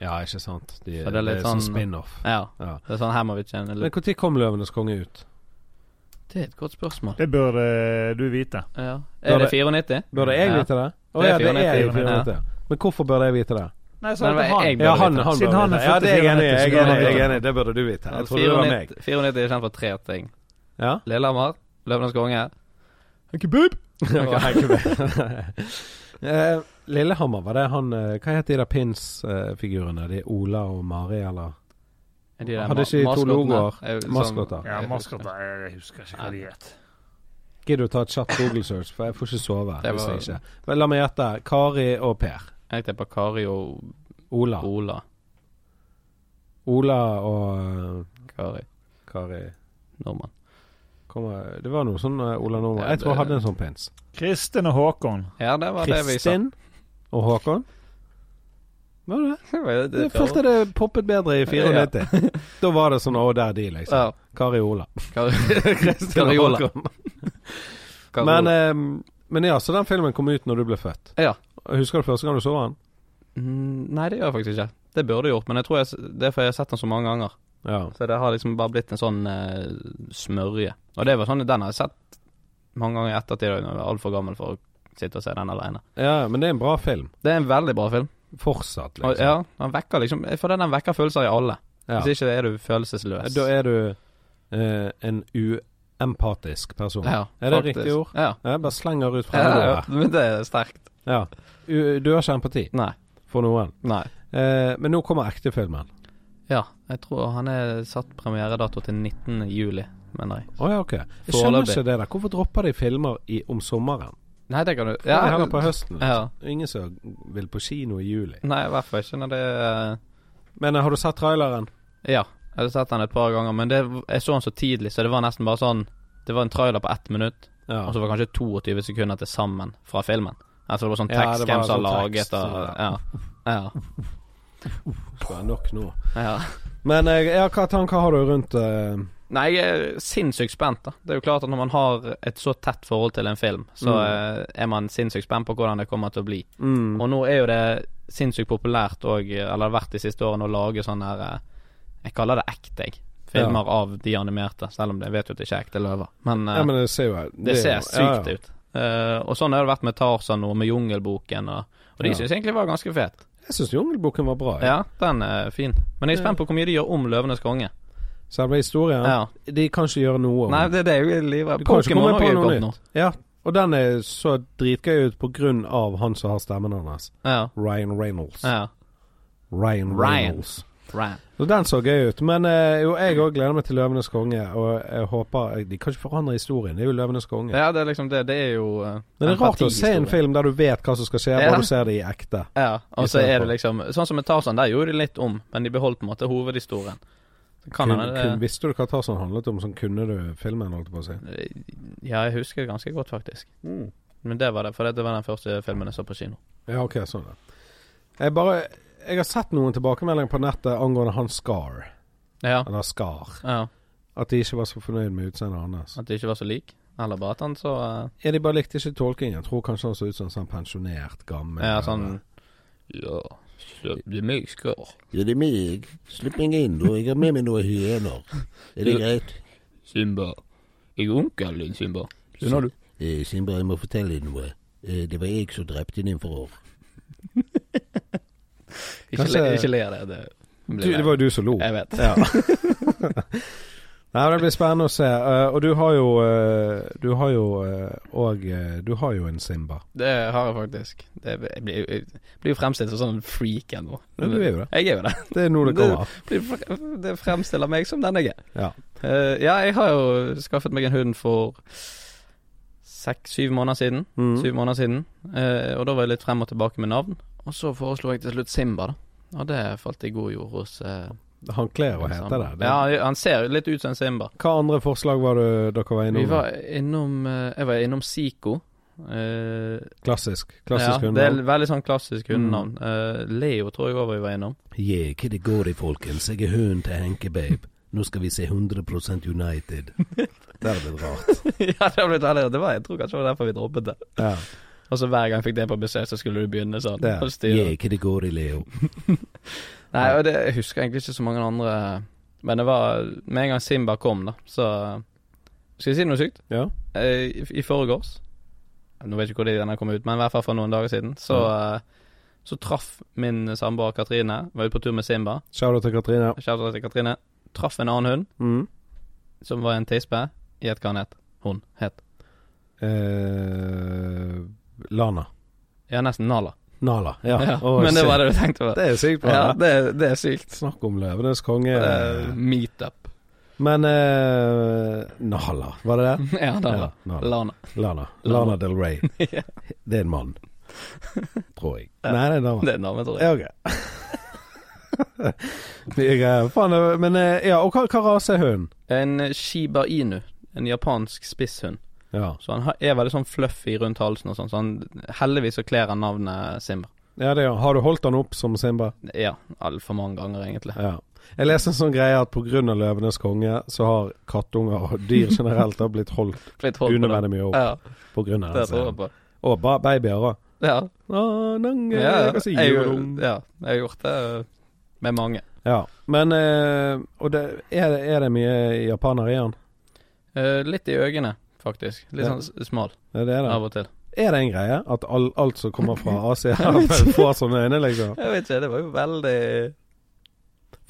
[SPEAKER 2] Ja, ikke sant. De,
[SPEAKER 1] Så
[SPEAKER 2] det er litt sånn,
[SPEAKER 1] sånn-
[SPEAKER 2] spin-off.
[SPEAKER 1] Ja.
[SPEAKER 2] Ja.
[SPEAKER 1] Det er sånn her må vi tjene
[SPEAKER 2] Men
[SPEAKER 1] litt
[SPEAKER 2] når kom 'Løvenes konge' ut?
[SPEAKER 1] Det er et godt spørsmål.
[SPEAKER 3] Det burde du vite.
[SPEAKER 1] Ja.
[SPEAKER 2] Da
[SPEAKER 1] Er det
[SPEAKER 2] det-
[SPEAKER 1] 94?
[SPEAKER 2] Burde jeg
[SPEAKER 1] Ja.
[SPEAKER 2] vite det? Å
[SPEAKER 1] Det er
[SPEAKER 2] ja, det er
[SPEAKER 1] 94,
[SPEAKER 2] jo 94. Men hvorfor burde jeg vite det?
[SPEAKER 3] Nei,
[SPEAKER 1] Nei, det var jeg burde
[SPEAKER 2] Ja, han,
[SPEAKER 1] vite.
[SPEAKER 2] han
[SPEAKER 3] Siden
[SPEAKER 2] bør
[SPEAKER 3] han er
[SPEAKER 2] vite. Ja,
[SPEAKER 3] født i
[SPEAKER 2] det er jeg enig i.
[SPEAKER 3] 94,
[SPEAKER 2] Jeg er
[SPEAKER 3] så burde han
[SPEAKER 2] enig, jeg
[SPEAKER 3] vite
[SPEAKER 2] er enig. Det burde du vite. Jeg trodde det var meg.
[SPEAKER 1] 94 94 er kjent for tre ting.
[SPEAKER 2] <laughs> Ja?
[SPEAKER 1] Lillehammer, Løvenes konge
[SPEAKER 2] <laughs>
[SPEAKER 1] Hankebub!
[SPEAKER 2] Eh, Lillehammer, var det han eh, Hva het de der pins-figurene? De Ola og Mari, eller? Hadde ikke de to logoer?
[SPEAKER 1] sånn-
[SPEAKER 2] Maskotter.
[SPEAKER 3] Ja, maskotter Jeg husker ikke hva de het.
[SPEAKER 2] Gidder du ta et kjapt Google search, for jeg får ikke sove.
[SPEAKER 1] Det
[SPEAKER 2] Hvis
[SPEAKER 1] var-
[SPEAKER 2] jeg ikke. Vel, la meg gjette. Kari og Per.
[SPEAKER 1] Jeg tipper Kari og
[SPEAKER 2] Ola.
[SPEAKER 1] Ola.
[SPEAKER 2] Ola og eh,
[SPEAKER 1] Kari
[SPEAKER 2] Kari
[SPEAKER 1] Nordmann.
[SPEAKER 2] Kommer, Det var noe sånn eh, Ola Nordmann.
[SPEAKER 1] Ja,
[SPEAKER 2] Jeg tror jeg
[SPEAKER 1] det-
[SPEAKER 2] hadde en sånn pins.
[SPEAKER 3] Kristin og Håkon.
[SPEAKER 1] Ja, det var det vi sa. <laughs>
[SPEAKER 2] Kristin og Håkon. Var det det?
[SPEAKER 1] Det var det-
[SPEAKER 2] Jeg følte det poppet bedre i 94. <laughs> Da var det sånn Å, der er de, liksom.
[SPEAKER 1] Ja.
[SPEAKER 2] Kari Ola. <laughs>
[SPEAKER 1] Kari
[SPEAKER 2] Kristin
[SPEAKER 1] <laughs>
[SPEAKER 2] og
[SPEAKER 1] Kari Ola.
[SPEAKER 2] Håkon.
[SPEAKER 1] Kari
[SPEAKER 2] Men,
[SPEAKER 1] Ola.
[SPEAKER 2] ehm, men ja, så den filmen kom ut når du ble født.
[SPEAKER 1] Ja.
[SPEAKER 2] Husker du første gang du så den?
[SPEAKER 1] Mm, Nei, det gjør jeg faktisk ikke. Det burde jeg gjort, men jeg tror jeg, s- det er fordi jeg har sett den så mange ganger.
[SPEAKER 2] Ja.
[SPEAKER 1] Så det har liksom bare blitt en sånn eh, smørje. Og det var sånn, den har jeg sett mange ganger i ettertid. og Jeg var altfor gammel for å sitte og se den alene.
[SPEAKER 2] ja, men det er en bra film.
[SPEAKER 1] Det er en veldig bra film.
[SPEAKER 2] Fortsatt,
[SPEAKER 1] Og,
[SPEAKER 2] liksom.
[SPEAKER 1] ja, den vekker liksom For den vekker følelser i alle.
[SPEAKER 2] Ja.
[SPEAKER 1] Hvis ikke er du følelsesløs.
[SPEAKER 2] Da er du eh, en uempatisk person.
[SPEAKER 1] ja,
[SPEAKER 2] Er det
[SPEAKER 1] faktisk.
[SPEAKER 2] riktig ord?
[SPEAKER 1] Ja.
[SPEAKER 2] Jeg bare slenger ut fra
[SPEAKER 1] Ja,
[SPEAKER 2] meg
[SPEAKER 1] ja,
[SPEAKER 2] her.
[SPEAKER 1] men det er sterkt.
[SPEAKER 2] Ja. U- Du har ikke empati
[SPEAKER 1] Nei.
[SPEAKER 2] for noen.
[SPEAKER 1] Nei.
[SPEAKER 2] Eh, men nå kommer ektefilmen.
[SPEAKER 1] Ja, jeg tror han er satt premieredato til 19. juli, mener jeg.
[SPEAKER 2] Å ja, ok. Jeg skjønner
[SPEAKER 1] Foreløpig.
[SPEAKER 2] ikke det der. Hvorfor dropper de filmer i, om sommeren?
[SPEAKER 1] Nei, det kan du
[SPEAKER 2] Ja, det henger på høsten.
[SPEAKER 1] Ja.
[SPEAKER 2] liksom. Ingen som vil på kino i juli.
[SPEAKER 1] Nei, i hvert fall ikke når det er
[SPEAKER 2] Men eh, har du sett traileren?
[SPEAKER 1] Ja, jeg hadde sett den et par ganger, men det, jeg så den så tidlig, så det var nesten bare sånn Det var en trailer på ett minutt,
[SPEAKER 2] Ja.
[SPEAKER 1] og så var det kanskje 22 sekunder til sammen fra filmen. Altså det var sånn
[SPEAKER 2] Ja,
[SPEAKER 1] tekst,
[SPEAKER 2] det var
[SPEAKER 1] hvem som har
[SPEAKER 2] sånn tekst,
[SPEAKER 1] laget og Ja. Ja.
[SPEAKER 2] Det er nok nå.
[SPEAKER 1] ja.
[SPEAKER 2] Men eh, ja, hva tanker har du rundt eh,
[SPEAKER 1] Nei, jeg er sinnssykt spent, da. Det er jo klart at når man har et så tett forhold til en film, så eh, er man sinnssykt spent på hvordan det kommer til å bli.
[SPEAKER 2] mm,
[SPEAKER 1] Og nå er jo det sinnssykt populært òg, eller det har vært de siste årene, å lage sånn her eh, Jeg kaller det ekte, jeg. Filmer av de animerte, selv om jeg vet jo at det ikke er ekte løver. Men, eh,
[SPEAKER 2] Ja, men det ser jo Det,
[SPEAKER 1] det ser sykt ut. Eh, og sånn har det vært med Tarzan og med Jungelboken, og, og de
[SPEAKER 2] Ja.
[SPEAKER 1] synes syns egentlig var ganske fet.
[SPEAKER 2] Jeg syns Jungelboken var bra. Ja.
[SPEAKER 1] Ja, den er fin. Men jeg er spent på hvor mye de gjør om Løvenes konge.
[SPEAKER 2] Selve historien
[SPEAKER 1] Ja.
[SPEAKER 2] De kan ikke gjøre noe om
[SPEAKER 1] Nei,
[SPEAKER 2] den.
[SPEAKER 1] det er det jeg er livredd
[SPEAKER 2] Du kan ikke
[SPEAKER 1] Pokémon
[SPEAKER 2] komme
[SPEAKER 1] òg
[SPEAKER 2] på
[SPEAKER 1] er jo
[SPEAKER 2] noe
[SPEAKER 1] kommet nå.
[SPEAKER 2] nytt. Ja. Og den er så dritgøy ut på grunn av han som har stemmen hans.
[SPEAKER 1] Ja.
[SPEAKER 2] Ryan Reynolds.
[SPEAKER 1] ja.
[SPEAKER 2] Ryan
[SPEAKER 1] Ryan.
[SPEAKER 2] Reynolds.
[SPEAKER 1] Ran.
[SPEAKER 2] Så den så gøy ut. Men eh, jo, jeg òg gleder meg til 'Løvenes konge'. Og jeg håper De kan ikke forandre historien. Det er jo 'Løvenes konge'.
[SPEAKER 1] Ja, det er liksom det. Det er jo uh,
[SPEAKER 2] Men det er rart å se en film der du vet hva som skal skje,
[SPEAKER 1] Ja.
[SPEAKER 2] bare du ser det i ekte.
[SPEAKER 1] Ja, og så
[SPEAKER 2] stedet
[SPEAKER 1] er
[SPEAKER 2] for-
[SPEAKER 1] det liksom Sånn som med Tarzan, der gjorde de litt om, men de beholdt på en måte hovedhistorien. Så kan
[SPEAKER 2] Kun,
[SPEAKER 1] hende det-
[SPEAKER 2] kun, visste du hva Tarzan handlet om, sånn kunne du filmen, holdt jeg på å si.
[SPEAKER 1] Eh, Ja, jeg husker det ganske godt, faktisk. Men det var det, for det var den første filmen jeg så på kino.
[SPEAKER 2] Ja, ok, sånn ja. Jeg bare Jeg har sett noen tilbakemeldinger på nettet angående han Scar,
[SPEAKER 1] Ja.
[SPEAKER 2] eller Skar,
[SPEAKER 1] ja.
[SPEAKER 2] at de ikke var så fornøyd med utseendet hans.
[SPEAKER 1] At de ikke var så lik. Eller bare at han så eh,
[SPEAKER 2] Ja, de bare likte ikke tolkingen. Tror kanskje han så ut som en sånn pensjonert, gammel
[SPEAKER 1] Ja, sånn Ja, sløp du meg, skar.
[SPEAKER 4] Ja, det er meg. Slipp meg inn, da. Jeg har med meg noen hyener. Er det
[SPEAKER 1] Ja.
[SPEAKER 4] greit?
[SPEAKER 1] Simba. Jeg er onkelen din, Simba.
[SPEAKER 4] Skjønner du? Eh, Simba, jeg må fortelle deg noe. Eh, det var jeg som drepte din far.
[SPEAKER 1] Ikke,
[SPEAKER 2] Kanskje-
[SPEAKER 1] le, ikke le av det. det.
[SPEAKER 2] Du, det var jo du som lo.
[SPEAKER 5] Jeg vet.
[SPEAKER 1] <laughs>
[SPEAKER 2] Ja. Nei, det blir spennende å se. Eh, og du har jo eh, Du har jo eh, Og eh, du har jo en Simba.
[SPEAKER 5] Det har jeg faktisk. Det blir- jeg blir jeg blir jo fremstilt som sånn freak ennå.
[SPEAKER 2] Ja, du er jo det.
[SPEAKER 5] Jeg er jo det.
[SPEAKER 2] Det er nå det
[SPEAKER 5] Det-
[SPEAKER 2] kommer.
[SPEAKER 5] Blir fre- Det fremstiller meg som den jeg er.
[SPEAKER 2] Ja.
[SPEAKER 5] Eh, ja, jeg har jo
[SPEAKER 1] Skaffet meg en hund for seks-syv måneder siden.
[SPEAKER 2] Mm.
[SPEAKER 1] Syv måneder siden. Eh, og da var jeg litt frem og tilbake med navn. Og så foreslo jeg til slutt Simba, da. Og det falt i god jord hos eh,
[SPEAKER 2] Han kler å hete det.
[SPEAKER 1] Alexander.
[SPEAKER 2] det.
[SPEAKER 1] Ja, han ser jo litt ut som en Simba.
[SPEAKER 2] Hva andre forslag var det dere var
[SPEAKER 1] Vi
[SPEAKER 2] innom?
[SPEAKER 1] var innom eh, Jeg var innom Zico. Eh,
[SPEAKER 2] Klassisk. Klassisk Mm.
[SPEAKER 1] ja,
[SPEAKER 2] ja,
[SPEAKER 1] Det er veldig sånn klassisk hundenavn. Eh, Leo tror jeg òg vi var innom. <laughs>
[SPEAKER 4] Yeah, hva det går i, folkens. Jeg er hunden til Henke Babe. Nå skal vi se 100 United. <laughs> Det er vel <laughs> rart.
[SPEAKER 1] ja, det har blitt veldig Det var, Jeg tror kanskje det var derfor vi droppet det.
[SPEAKER 2] Ja.
[SPEAKER 1] Altså Hver gang jeg fikk det på besøk, så skulle du begynne sånn.
[SPEAKER 2] Ja.
[SPEAKER 1] Og styre.
[SPEAKER 4] Yeah, hva det går i, Leo.
[SPEAKER 1] Nei, og det, Jeg husker egentlig ikke så mange andre Men det var med en gang Simba kom, da, så Skal jeg si noe sykt?
[SPEAKER 2] Ja.
[SPEAKER 1] Eh, I, i forgårs Nå vet jeg ikke hvor den har kommet ut, men i hvert fall for noen dager siden, så eh, så traff min samboer Katrine, var ute på tur med Simba.
[SPEAKER 2] Shout-out til Katrine.
[SPEAKER 1] Kjære til Katrine. Traff en annen hund,
[SPEAKER 2] Mm.
[SPEAKER 1] som var en tispe. Gjett hva han het. Hun het.
[SPEAKER 2] Eh, Lana.
[SPEAKER 1] Ja, nesten Nala.
[SPEAKER 2] Nala. Ja.
[SPEAKER 1] Ja,
[SPEAKER 2] Å,
[SPEAKER 1] <laughs> men det
[SPEAKER 2] shit.
[SPEAKER 1] var det du tenkte på.
[SPEAKER 2] Det er sykt bra.
[SPEAKER 1] Ja,
[SPEAKER 2] det.
[SPEAKER 1] det, det er sykt.
[SPEAKER 2] Snakk om løvenes konge.
[SPEAKER 1] Uh, Meetup.
[SPEAKER 2] Men eh, Nala, var det
[SPEAKER 1] <laughs>
[SPEAKER 2] det?
[SPEAKER 1] ja, det var
[SPEAKER 2] Nala.
[SPEAKER 1] Lana. <laughs> Lana.
[SPEAKER 2] Lana. Lana Del Rey.
[SPEAKER 1] Ja.
[SPEAKER 2] Det er en <laughs> mann, tror jeg.
[SPEAKER 1] Ja.
[SPEAKER 2] Nei, det er en dame.
[SPEAKER 1] Det er navnet, tror jeg.
[SPEAKER 2] Ja, ok. Mye greier. Faen, <laughs> det- men eh, ja, og hva, hva rase er hunden?
[SPEAKER 1] En Shiba Inu. En japansk spisshund.
[SPEAKER 2] Ja.
[SPEAKER 1] Så han har- er veldig sånn fluffy rundt halsen og sånn, så han heldigvis så kler han navnet Simba.
[SPEAKER 2] ja, det er han. Har du holdt han opp som Simba?
[SPEAKER 1] Ja, altfor mange ganger, egentlig. <laughs>
[SPEAKER 2] Ja. Jeg leste en sånn greie at pga. Løvenes konge, så har kattunger og dyr generelt har blitt holdt
[SPEAKER 1] Blitt holdt på det.
[SPEAKER 2] unødvendig mye opp
[SPEAKER 1] Ja,
[SPEAKER 2] pga.
[SPEAKER 1] det tror jeg
[SPEAKER 2] den.
[SPEAKER 1] på.
[SPEAKER 2] Og ba- babyer òg.
[SPEAKER 1] Ja, ja,
[SPEAKER 2] Ja,
[SPEAKER 1] jeg, ja, jeg har gjort det eh, med mange.
[SPEAKER 2] ja. Men eh, Og det, er, det, er det mye japanere i han?
[SPEAKER 1] Eh, litt i øynene, faktisk. Litt
[SPEAKER 2] Ja.
[SPEAKER 1] sånn s- smal
[SPEAKER 2] Ja, det er det.
[SPEAKER 1] av og til.
[SPEAKER 2] Er det en greie at all, alt som
[SPEAKER 1] <laughs>
[SPEAKER 2] kommer fra Asia, <laughs> får sånne øyne, liksom?
[SPEAKER 1] Jeg vet ikke, det var jo veldig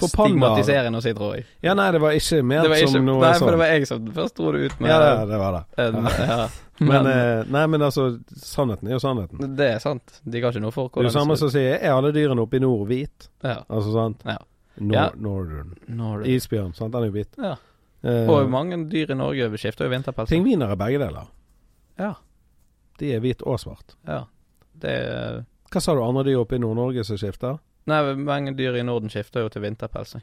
[SPEAKER 2] For pandaer
[SPEAKER 1] stigmatiserende å si, tror jeg.
[SPEAKER 2] Ja, nei, det var ikke ment
[SPEAKER 1] Det var ikke,
[SPEAKER 2] som noe
[SPEAKER 1] nei, for
[SPEAKER 2] sånn.
[SPEAKER 1] det var jeg som først dro det ut med
[SPEAKER 2] Ja, det, det var det.
[SPEAKER 1] en, ja.
[SPEAKER 2] <laughs> Men,
[SPEAKER 1] Men, eh,
[SPEAKER 2] eh, nei, men altså, sannheten er jo sannheten.
[SPEAKER 1] det er sant. De ga ikke noe for
[SPEAKER 2] Det er
[SPEAKER 1] hvordan
[SPEAKER 2] jo samme
[SPEAKER 1] ser ut.
[SPEAKER 2] som sier er alle dyrene oppe i nord hvit?
[SPEAKER 1] Ja.
[SPEAKER 2] Altså, sant?
[SPEAKER 1] Ja.
[SPEAKER 2] Nor
[SPEAKER 1] Ja.
[SPEAKER 2] Northern.
[SPEAKER 1] Når det-
[SPEAKER 2] Isbjørn, sant? Den er jo hvit.
[SPEAKER 1] Ja.
[SPEAKER 2] Eh,
[SPEAKER 1] Og mange dyr i Norge skifter jo vinterpels.
[SPEAKER 2] pingviner er begge deler.
[SPEAKER 1] Ja.
[SPEAKER 2] De er hvit og svart.
[SPEAKER 1] Ja. Det er
[SPEAKER 2] Hva sa du andre dyr oppe i Nord-Norge som skifter?
[SPEAKER 1] Nei, mange dyr i Norden skifter jo til vinterpels. jeg.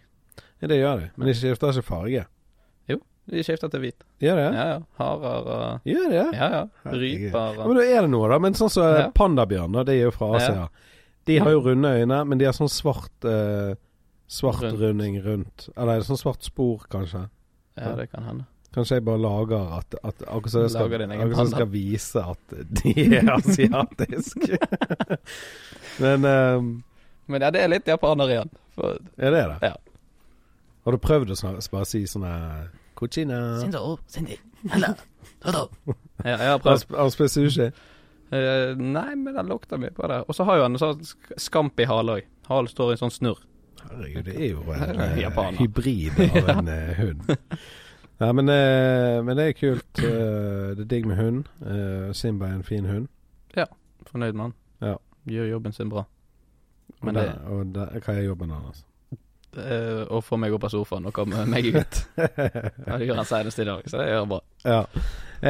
[SPEAKER 2] Ja, det gjør de, men de skifter ikke farge.
[SPEAKER 1] De skifter til hvit.
[SPEAKER 2] Gjør de?
[SPEAKER 1] Ja, ja. Harer og
[SPEAKER 2] Gjør de?
[SPEAKER 1] Ja, ja.
[SPEAKER 2] Herregud.
[SPEAKER 1] Ryper
[SPEAKER 2] Ja,
[SPEAKER 1] og
[SPEAKER 2] men da er det noe, da. Men sånn som så,
[SPEAKER 1] Ja.
[SPEAKER 2] pandabjørn, da, de er jo fra Asia. De har jo runde øyne, men de har sånn svart eh, Svart
[SPEAKER 1] Rundt.
[SPEAKER 2] runding rundt. Eller sånn svart spor, kanskje.
[SPEAKER 1] Ja, det kan hende.
[SPEAKER 2] Kanskje jeg bare lager at, at Akkurat som jeg skal,
[SPEAKER 1] Lager din egen
[SPEAKER 2] akkurat som jeg
[SPEAKER 1] panda.
[SPEAKER 2] skal vise at de er <laughs> asiatiske. <laughs> men eh,
[SPEAKER 1] Men ja, det er litt japaner igjen. For
[SPEAKER 2] er det det?
[SPEAKER 1] Ja.
[SPEAKER 2] Har du prøvd å snak- bare si sånne Kuchina
[SPEAKER 1] <laughs> ja, jeg har prøvd.
[SPEAKER 2] Aspe sushi?
[SPEAKER 1] Eh, nei, men den lukter mye på det. Og så har jo han en sånn sk- skamp i halen òg. Halen står i en sånn snurr.
[SPEAKER 2] Herregud, det er jo en eh,
[SPEAKER 1] Japaner.
[SPEAKER 2] hybrid
[SPEAKER 4] <laughs>
[SPEAKER 1] <laughs>
[SPEAKER 2] av en eh, hund. Nei, men, eh, men det er kult. eh, det er digg med hund. Eh, Simba er en fin hund.
[SPEAKER 1] Fornøyd med han.
[SPEAKER 2] Ja.
[SPEAKER 1] Gjør jobben sin bra.
[SPEAKER 2] Og,
[SPEAKER 1] Men
[SPEAKER 2] det,
[SPEAKER 1] det,
[SPEAKER 2] og det, hva er jobben hans? <laughs>
[SPEAKER 1] eh, å få meg opp av sofaen og komme meg
[SPEAKER 2] <laughs>
[SPEAKER 1] ut, ja, det gjør han senest i dag, så det gjør han bra.
[SPEAKER 2] ja.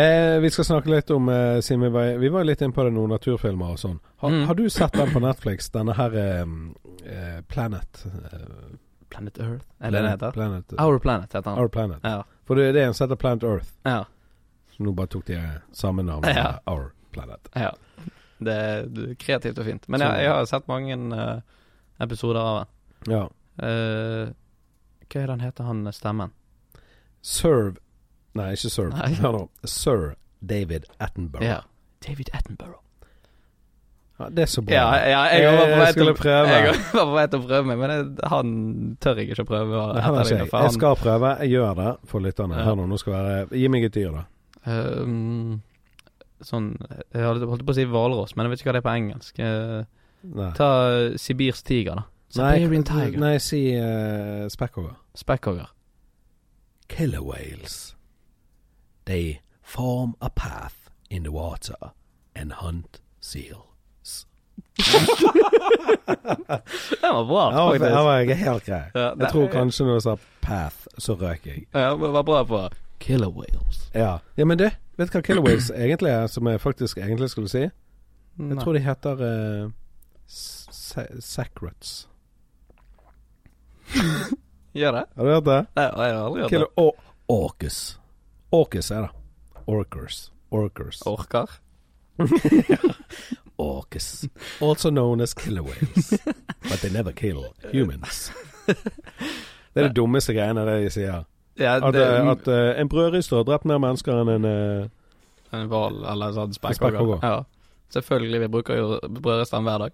[SPEAKER 2] Eh, vi skal snakke litt om eh, siden vi var, vi var litt inne på det noen naturfilmer og sånn. Har,
[SPEAKER 1] Mm.
[SPEAKER 2] har du sett den på Netflix, denne her eh, eh, Planet eh,
[SPEAKER 1] Planet Earth, er det det heter? Ah,
[SPEAKER 2] Planet,
[SPEAKER 1] Our Planet heter han.
[SPEAKER 2] Our Planet.
[SPEAKER 1] Ja.
[SPEAKER 2] For det, det er en som heter Planet Earth.
[SPEAKER 1] ja.
[SPEAKER 2] Så nå bare tok de eh, samme navn.
[SPEAKER 1] Ja.
[SPEAKER 2] Our Planet.
[SPEAKER 1] ja. Det er det er kreativt og fint. Men
[SPEAKER 2] Så-
[SPEAKER 1] jeg, jeg har sett mange eh, episoder av den.
[SPEAKER 2] Ja.
[SPEAKER 1] Eh, hva er det han heter, han stemmen?
[SPEAKER 2] Sir Nei, ikke Sir.
[SPEAKER 1] Nei.
[SPEAKER 2] Hør nå. Sir David Attenborough.
[SPEAKER 1] Ja. David Attenborough.
[SPEAKER 2] Ja, det er så bra.
[SPEAKER 1] Ja, ja jeg,
[SPEAKER 2] Jeg
[SPEAKER 1] var på vei til
[SPEAKER 2] skulle
[SPEAKER 1] å
[SPEAKER 2] prøve.
[SPEAKER 1] <laughs> Jeg var på vei til å prøve meg, men jeg, han tør jeg ikke å prøve. å
[SPEAKER 2] Nei, han har ikke
[SPEAKER 1] etterligne,
[SPEAKER 2] jeg.
[SPEAKER 1] for
[SPEAKER 2] Jeg
[SPEAKER 1] han-
[SPEAKER 2] skal prøve. Jeg gjør det for lytterne.
[SPEAKER 1] Ja.
[SPEAKER 2] Hør nå, nå skal være Gi meg et dyr, da.
[SPEAKER 1] Ehm, sånn Jeg hadde holdt på å si hvalross, men jeg vet ikke hva det er på engelsk. Eh,
[SPEAKER 2] Nei.
[SPEAKER 1] ta eh, Sibirstiger, da.
[SPEAKER 5] Siberian Tiger.
[SPEAKER 2] Nei, si uh, Spekkhogger.
[SPEAKER 1] Spekkhogger.
[SPEAKER 4] Killer whales. They form a path in the water and hunt seals.
[SPEAKER 1] Den var bra.
[SPEAKER 2] Ja, det
[SPEAKER 1] faktisk.
[SPEAKER 2] det var jeg helt grei.
[SPEAKER 1] Ja,
[SPEAKER 2] Jeg
[SPEAKER 1] det-
[SPEAKER 2] tror kanskje når du sa Path, så røk jeg.
[SPEAKER 1] Ja, det var bra på Killer Whales.
[SPEAKER 2] Ja, ja men du, vet du hva Killer
[SPEAKER 1] <clears throat>
[SPEAKER 2] Waves egentlig er, som jeg faktisk egentlig skulle si? Jeg tror de heter eh, s- sa- Sacrets.
[SPEAKER 1] Gjør det?
[SPEAKER 2] Har du hørt det?
[SPEAKER 1] Nei, jeg har aldri hørt det.
[SPEAKER 2] Killer Or
[SPEAKER 4] Orcus.
[SPEAKER 2] Orcus er det. Orcers. Orcers.
[SPEAKER 1] Orker?
[SPEAKER 4] <laughs> Orcus.
[SPEAKER 2] Also known as killer
[SPEAKER 1] <laughs>
[SPEAKER 2] whales.
[SPEAKER 4] But they never kill humans.
[SPEAKER 2] Det er det dummeste greiene det de sier.
[SPEAKER 1] Ja,
[SPEAKER 2] At,
[SPEAKER 1] det er
[SPEAKER 2] eh, at eh, en brødrister har drept mer mennesker enn en eh,
[SPEAKER 1] en hval eller en sånn
[SPEAKER 2] Spekkhogger.
[SPEAKER 1] spekkhogger. Ja. Selvfølgelig, vi bruker jo brødristene hver dag.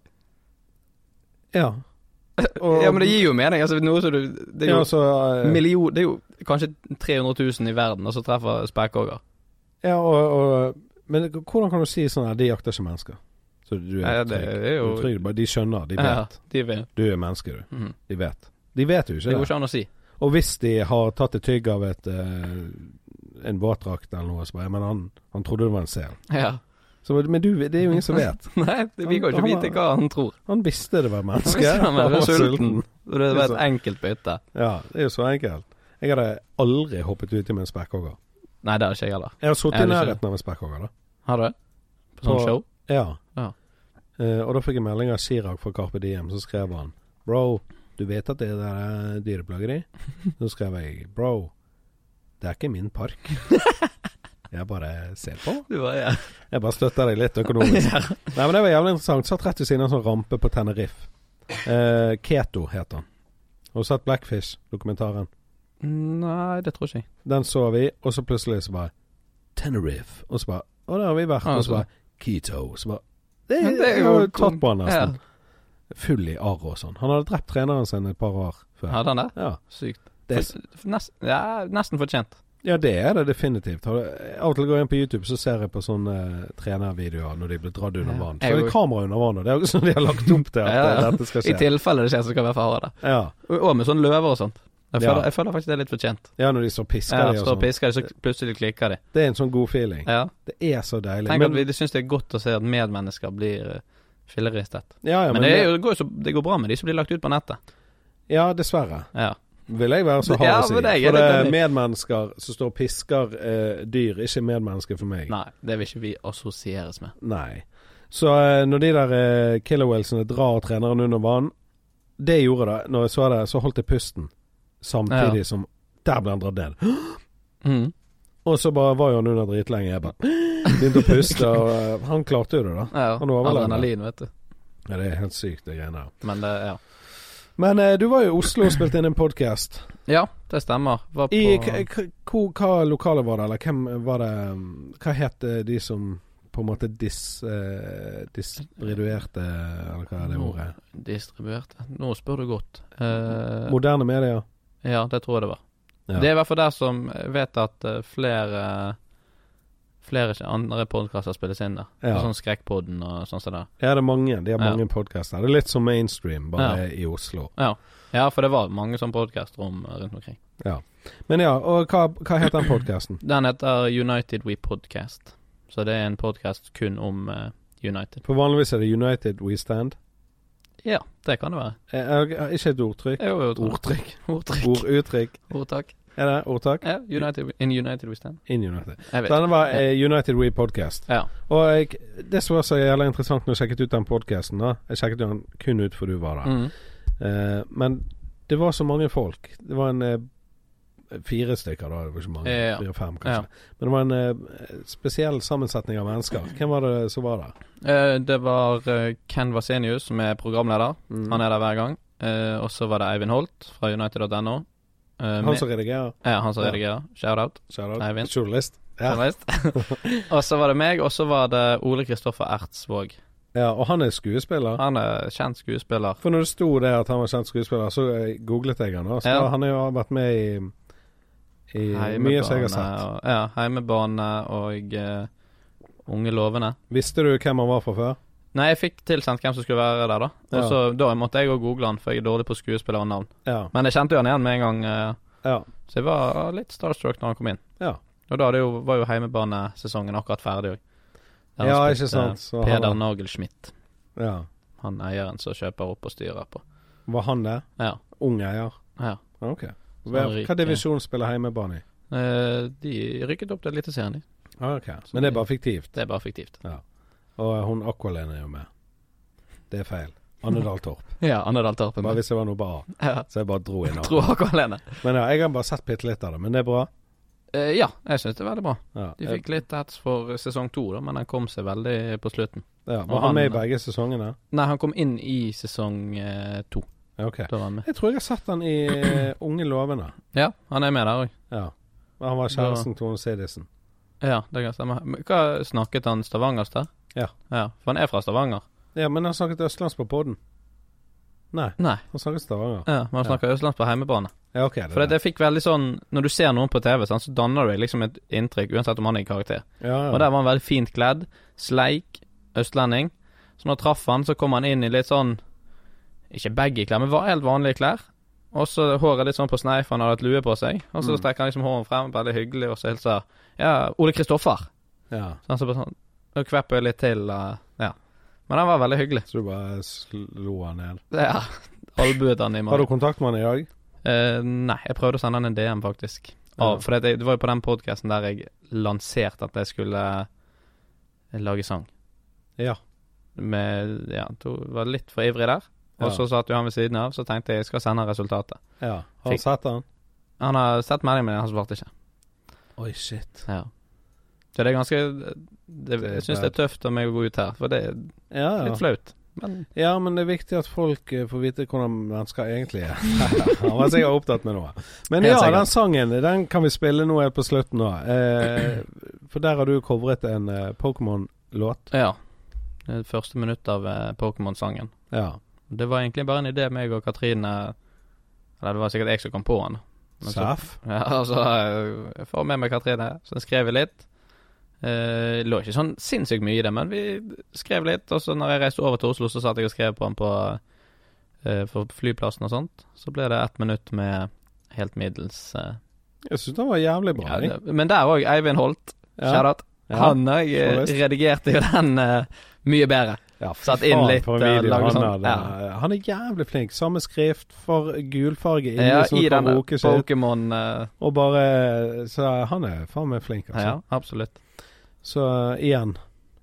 [SPEAKER 2] Ja. Og,
[SPEAKER 1] Ja, men det gir jo mening. Altså, noe som du Det er jo
[SPEAKER 2] ja, så, eh,
[SPEAKER 1] million Det er jo kanskje 300 000 i verden, og så treffer spekkhogger.
[SPEAKER 2] ja, og, og, Men hvordan kan du si sånn at de jakter ikke mennesker? Så du er
[SPEAKER 1] Ja, det er
[SPEAKER 2] trygg. Du
[SPEAKER 1] jo
[SPEAKER 2] er trygg. Bare De skjønner, de vet.
[SPEAKER 1] Ja, de vil
[SPEAKER 2] Du er menneske, du.
[SPEAKER 1] Mhm.
[SPEAKER 2] De vet. De vet jo
[SPEAKER 1] Det
[SPEAKER 2] ikke
[SPEAKER 1] går
[SPEAKER 2] det.
[SPEAKER 1] ikke an å si.
[SPEAKER 2] Og hvis de har tatt et tygg av et eh, en våtdrakt eller noe, så bare Men han, han trodde det var en sel.
[SPEAKER 1] Ja.
[SPEAKER 2] Så, men du, det er jo ingen som vet.
[SPEAKER 1] Nei, det- vi kan jo ikke
[SPEAKER 2] Han var-
[SPEAKER 1] vite hva han tror.
[SPEAKER 2] Han visste det var
[SPEAKER 1] Han
[SPEAKER 2] menneske.
[SPEAKER 1] visste han var sulten. Og det var
[SPEAKER 2] Det er
[SPEAKER 1] et enkelt bytte.
[SPEAKER 2] Ja, det er jo så enkelt. Jeg hadde aldri hoppet uti med en spekkhogger.
[SPEAKER 1] Nei, det har ikke jeg heller.
[SPEAKER 2] Jeg har sittet
[SPEAKER 1] Er
[SPEAKER 2] i
[SPEAKER 1] det ikke
[SPEAKER 2] nærheten av en spekkhogger, da.
[SPEAKER 1] Har du? På sånn
[SPEAKER 2] På-
[SPEAKER 1] show?
[SPEAKER 2] Ja.
[SPEAKER 1] Ja.
[SPEAKER 2] Eh, og da fikk jeg melding av Chirag fra Carpe Diem, så skrev han Bro, du vet at det der er dyreplageri?
[SPEAKER 1] <laughs>
[SPEAKER 2] Så skrev jeg Bro, det er ikke min park. Jeg bare ser på.
[SPEAKER 1] Du var, ja.
[SPEAKER 2] Jeg bare støtter deg litt
[SPEAKER 1] <laughs>
[SPEAKER 2] økonomisk. Nei, men Det var jævlig interessant. Satt rett ved siden av en sånn rampe på Tenerife. Eh, Keto het han. Og satt Blackfish-dokumentaren.
[SPEAKER 1] Nei, det tror ikke jeg.
[SPEAKER 2] Den så vi, og så plutselig så bare
[SPEAKER 4] Tenerife.
[SPEAKER 2] Og så bare Å, der har vi vært.
[SPEAKER 1] Ja,
[SPEAKER 2] Og så
[SPEAKER 1] så-
[SPEAKER 2] bare Keto. Så bare Det,
[SPEAKER 1] Altså. Ja, det er
[SPEAKER 2] jeg
[SPEAKER 1] jo
[SPEAKER 2] har jo
[SPEAKER 1] kom-
[SPEAKER 2] tatt på han
[SPEAKER 1] Ja.
[SPEAKER 2] nesten. Full i arr og sånn. Han hadde drept treneren sin et par år før.
[SPEAKER 1] Hadde han det?
[SPEAKER 2] Ja,
[SPEAKER 1] Sykt.
[SPEAKER 2] det,
[SPEAKER 1] For, for nest, ja, nesten fortjent.
[SPEAKER 2] ja, det er det definitivt. Har du- Av og til går jeg inn på YouTube, så ser jeg på sånne eh, trenervideoer når de blir dratt under
[SPEAKER 1] Ja.
[SPEAKER 2] vann.
[SPEAKER 1] Jeg
[SPEAKER 2] For det
[SPEAKER 1] går-
[SPEAKER 2] er kamera under vann, og det er jo sånn de har lagt opp til at
[SPEAKER 1] Ja, ja.
[SPEAKER 2] eh, dette skal
[SPEAKER 1] I
[SPEAKER 2] skje.
[SPEAKER 1] tilfelle det skjer, så skal vi i hvert fall ha det.
[SPEAKER 2] Ja.
[SPEAKER 1] Og, og med sånn løver og sånt. Jeg
[SPEAKER 2] Ja.
[SPEAKER 1] føler, jeg føler faktisk det er litt fortjent.
[SPEAKER 2] ja, når de står og pisker
[SPEAKER 1] Ja,
[SPEAKER 2] de og
[SPEAKER 1] så
[SPEAKER 2] sånn.
[SPEAKER 1] pisker de, så plutselig klikker de.
[SPEAKER 2] Det er en sånn god feeling.
[SPEAKER 1] Ja.
[SPEAKER 2] Det er så deilig.
[SPEAKER 1] Tenk at
[SPEAKER 2] Men,
[SPEAKER 1] vi de syns det er godt å se at medmennesker blir eh, filleristet.
[SPEAKER 2] ja, ja,
[SPEAKER 1] Men, det, er jo, det, går jo så, det går bra med de som blir lagt ut på nettet.
[SPEAKER 2] ja, dessverre.
[SPEAKER 1] Ja.
[SPEAKER 2] Vil jeg være så
[SPEAKER 1] Ja,
[SPEAKER 2] hard å si.
[SPEAKER 1] men det er jeg
[SPEAKER 2] for det
[SPEAKER 1] litt
[SPEAKER 2] er
[SPEAKER 1] enig.
[SPEAKER 2] medmennesker som står og pisker eh, dyr, ikke medmennesker for meg.
[SPEAKER 1] Nei, det vil ikke vi assosieres med.
[SPEAKER 2] Nei. Så eh, når de der eh, killer whalesene drar treneren under vann Det gjorde det. Når jeg så det, så holdt jeg pusten. Samtidig
[SPEAKER 1] Ja.
[SPEAKER 2] som Der ble han dratt ned.
[SPEAKER 1] Mm.
[SPEAKER 2] Og så bare var jo han under dritlenge. Jeg bare <gasps> begynte å puste, og eh, han klarte jo det, da.
[SPEAKER 1] Ja,
[SPEAKER 2] Han overlever.
[SPEAKER 1] adrenalin, vet du.
[SPEAKER 2] Ja, det er helt sykt, det greiene der.
[SPEAKER 1] Men det, ja.
[SPEAKER 2] Men eh, du var jo i Oslo og spilte inn en podkast.
[SPEAKER 1] Ja, det stemmer. Var på
[SPEAKER 2] I k- k- hvor, hva lokale var det, eller hvem var det um, Hva het eh, de som på en måte dis, eh, distribuerte Eller hva er det ordet?
[SPEAKER 1] Distribuert Nå spør du godt. Eh,
[SPEAKER 2] Moderne medier.
[SPEAKER 1] ja, det tror jeg det var.
[SPEAKER 2] Ja.
[SPEAKER 1] Det er i hvert fall der som vet at eh, flere Flere andre podkaster spilles inn der.
[SPEAKER 2] Ja.
[SPEAKER 1] Sånn Skrekkpodden og sånn som det.
[SPEAKER 2] Ja, det er mange. De har
[SPEAKER 1] Ja.
[SPEAKER 2] mange podkaster. Det er litt som mainstream, bare i Oslo.
[SPEAKER 1] Ja, for det var mange sånne podkastrom rundt omkring.
[SPEAKER 2] Men ja, og hva, hva het den podkasten?
[SPEAKER 1] Den heter United We Podcast. Så det er en podkast kun om eh, United.
[SPEAKER 2] For vanligvis er det United We Stand.
[SPEAKER 1] Ja, det kan det være.
[SPEAKER 2] Eh, Er, er ikke et ordtrykk?
[SPEAKER 1] Jo, jo, tror jeg.
[SPEAKER 2] Ordtrykk.
[SPEAKER 1] <laughs> Ordtrykk.
[SPEAKER 2] Orduttrykk.
[SPEAKER 1] Ordtak.
[SPEAKER 2] Er det ordtak?
[SPEAKER 1] Ja, United, we- in United we stand.
[SPEAKER 2] In United.
[SPEAKER 1] Jeg vet.
[SPEAKER 2] Denne var eh, United We Podcast.
[SPEAKER 1] Ja.
[SPEAKER 2] Og jeg, det som var så jævlig interessant når jeg sjekket ut den podkasten Jeg sjekket jo den kun ut for du var der.
[SPEAKER 1] Mm.
[SPEAKER 2] Eh, men det var så mange folk. Det var en eh, Fire stykker, da. Det var ikke mange.
[SPEAKER 1] Ja, ja.
[SPEAKER 2] Fire-fem, kanskje. Men det var en eh, spesiell sammensetning av mennesker.
[SPEAKER 1] Mm.
[SPEAKER 2] Hvem var det som var der?
[SPEAKER 1] Eh, det var eh, Ken Vasenius som er programleder.
[SPEAKER 2] Mm.
[SPEAKER 1] Han er der hver gang. Eh, og så var det Eivind Holt fra United.no. Eh,
[SPEAKER 2] Han
[SPEAKER 1] med-
[SPEAKER 2] som redigerer?
[SPEAKER 1] ja, han som
[SPEAKER 2] Ja.
[SPEAKER 1] redigerer. Shout-out.
[SPEAKER 2] Shout-out.
[SPEAKER 1] Eivind.
[SPEAKER 2] Journalist? Ja. <laughs>
[SPEAKER 1] Journalist. og så var det meg, og så var det Ole Kristoffer Ertsvåg.
[SPEAKER 2] ja. Og han er skuespiller?
[SPEAKER 1] Han er kjent skuespiller.
[SPEAKER 2] For når det sto det at han var kjent skuespiller, så eh, googlet jeg han da. Så
[SPEAKER 1] Ja.
[SPEAKER 2] han har jo vært med i, i mye som jeg har sett.
[SPEAKER 1] og, ja, heimebane og eh, Unge lovende.
[SPEAKER 2] Visste du hvem han var fra før?
[SPEAKER 1] Nei, jeg fikk tilsendt hvem som skulle være der, da. Og så Da måtte jeg òg google han, for jeg er dårlig på skuespillernavn.
[SPEAKER 2] Ja.
[SPEAKER 1] Men jeg kjente jo han igjen med en gang, eh,
[SPEAKER 2] ja.
[SPEAKER 1] så jeg var litt starstruck når han kom inn.
[SPEAKER 2] Ja.
[SPEAKER 1] Og da hadde jo, var jo heimebanesesongen akkurat ferdig òg. Der han
[SPEAKER 2] Ja,
[SPEAKER 1] spilte
[SPEAKER 2] ikke sant. Så han-
[SPEAKER 1] Peder Nagelschmidt,
[SPEAKER 2] ja.
[SPEAKER 1] han eieren som kjøper opp og styrer på.
[SPEAKER 2] Var han der?
[SPEAKER 1] Ja.
[SPEAKER 2] Ung eier?
[SPEAKER 1] ja.
[SPEAKER 2] OK.
[SPEAKER 1] han
[SPEAKER 2] Hva,
[SPEAKER 1] ryker.
[SPEAKER 2] hva divisjon spiller hjemmebane i?
[SPEAKER 1] Eh, de rykket opp til Eliteserien, de.
[SPEAKER 2] Ah, ok. Men det er bare fiktivt.
[SPEAKER 1] Det er bare fiktivt.
[SPEAKER 2] Og hun Aqualene er jo med. Det er feil. Annedal Torp.
[SPEAKER 1] <laughs> Ja, Annedal Torpen.
[SPEAKER 2] Bare hvis det var noe bra,
[SPEAKER 1] <laughs> Ja.
[SPEAKER 2] så jeg bare dro
[SPEAKER 1] <laughs>
[SPEAKER 2] inn.
[SPEAKER 1] Tror
[SPEAKER 2] av.
[SPEAKER 1] han kom alene.
[SPEAKER 2] Men ja, jeg har bare sett bitte litt av det, men det er bra.
[SPEAKER 1] Eh, ja, jeg syns det er veldig bra.
[SPEAKER 2] Ja.
[SPEAKER 1] De fikk litt hets for sesong to, da, men han kom seg veldig på slutten.
[SPEAKER 2] ja.
[SPEAKER 1] og
[SPEAKER 2] Var han med i
[SPEAKER 1] han-
[SPEAKER 2] begge sesongene?
[SPEAKER 1] Nei, han kom inn i sesong eh, to.
[SPEAKER 2] Ja, OK.
[SPEAKER 1] Da var han med.
[SPEAKER 2] Jeg tror jeg har sett han i eh, Unge lovende.
[SPEAKER 1] Ja, han er med der òg.
[SPEAKER 2] Ja. Men Han var kjæresten til Tone Sidisen.
[SPEAKER 1] Ja, det kan stemme. Men Hva snakket han stavangersk der?
[SPEAKER 2] Ja.
[SPEAKER 1] ja. For han er fra Stavanger?
[SPEAKER 2] Ja, men han snakket østlands på podden. Nei,
[SPEAKER 1] Nei,
[SPEAKER 2] han snakket Stavanger.
[SPEAKER 1] ja, men han snakker østlands på heimebane.
[SPEAKER 2] Ja, OK. Det
[SPEAKER 1] For det,
[SPEAKER 2] er det.
[SPEAKER 1] jeg fikk veldig sånn Når du ser noen på TV, sant, så danner du deg liksom et inntrykk, uansett om han er i karakter.
[SPEAKER 2] Ja,
[SPEAKER 1] Og der var han veldig fint kledd. Sleik. Østlending. Så når jeg traff han, så kom han inn i litt sånn Ikke baggy-klær, men var helt vanlige klær. Og så håret litt sånn på snei, for han hadde hatt lue på seg. Og
[SPEAKER 2] Mm.
[SPEAKER 1] så strekker han liksom håret frem, veldig hyggelig, og så hilser Ja, Ole Kristoffer.
[SPEAKER 2] ja.
[SPEAKER 1] Så han så bare sånn Og kvepper jeg litt til, eh, ja. Men han var veldig hyggelig.
[SPEAKER 2] Så du bare slo han ned.
[SPEAKER 1] Ja. Albuet han i
[SPEAKER 2] Har
[SPEAKER 1] magen.
[SPEAKER 2] du kontakt med han i dag?
[SPEAKER 1] Eh, nei, jeg prøvde å sende han en DM, faktisk.
[SPEAKER 2] Ja.
[SPEAKER 1] Av, For det, det var jo på den podkasten der jeg lanserte at jeg skulle eh, lage sang.
[SPEAKER 2] Ja.
[SPEAKER 1] med Ja, to var litt for ivrig der. Og
[SPEAKER 2] Ja.
[SPEAKER 1] så satt jo han ved siden av, så tenkte jeg jeg skal sende resultatet.
[SPEAKER 2] ja. Har
[SPEAKER 1] Fikk-
[SPEAKER 2] du sett han?
[SPEAKER 1] Han har sett meldingen, men han svarte ikke.
[SPEAKER 4] Oi, shit.
[SPEAKER 1] Ja. Så det er ganske det,
[SPEAKER 2] er
[SPEAKER 1] Jeg syns det er tøft av meg å gå ut her, for det er
[SPEAKER 2] Ja,
[SPEAKER 1] litt
[SPEAKER 2] ja.
[SPEAKER 1] flaut. Men
[SPEAKER 2] ja, men det er viktig at folk eh, får vite hvordan mennesker egentlig er. <laughs> han var sikkert opptatt med noe. Men
[SPEAKER 1] Helt
[SPEAKER 2] ja,
[SPEAKER 1] sikkert.
[SPEAKER 2] den sangen den kan vi spille nå helt på slutten nå. Eh, for der har du covret en eh, Pokémon-låt.
[SPEAKER 1] ja. Det er første minutt av eh, Pokémon-sangen.
[SPEAKER 2] Ja.
[SPEAKER 1] Det var egentlig bare en idé meg og Katrine Eller det var sikkert jeg som kom på den. Men så-
[SPEAKER 2] Seff.
[SPEAKER 1] Ja, altså, eh, jeg får med meg Katrine, så skrev vi litt. Eh, lå ikke sånn sinnssykt mye i det, men vi skrev litt. Og så når jeg reiste over til Oslo, så satt jeg og skrev på den på eh, for flyplassen og sånt. Så ble det ett minutt med helt middels eh,
[SPEAKER 2] Jeg syns den var jævlig bra.
[SPEAKER 1] ja,
[SPEAKER 2] jeg.
[SPEAKER 1] det, Men der òg, Eivind Holt. Shoutout.
[SPEAKER 2] Ja.
[SPEAKER 1] Han òg eh,
[SPEAKER 2] forresten.
[SPEAKER 1] redigerte jo den eh, mye bedre.
[SPEAKER 2] Ja, fy
[SPEAKER 1] Satt inn
[SPEAKER 2] faen,
[SPEAKER 1] litt,
[SPEAKER 2] for en
[SPEAKER 1] eh,
[SPEAKER 2] video
[SPEAKER 1] lagde
[SPEAKER 2] han,
[SPEAKER 1] sånn,
[SPEAKER 2] hadde. han er jævlig flink. Samme skrift, for gulfarge inni,
[SPEAKER 1] Ja,
[SPEAKER 2] som
[SPEAKER 1] I
[SPEAKER 2] kan
[SPEAKER 1] den
[SPEAKER 2] roke seg.
[SPEAKER 1] Pokémon eh,
[SPEAKER 2] Og bare eh, Så han er faen meg flink, altså.
[SPEAKER 1] Ja, absolutt.
[SPEAKER 2] Så eh, igjen,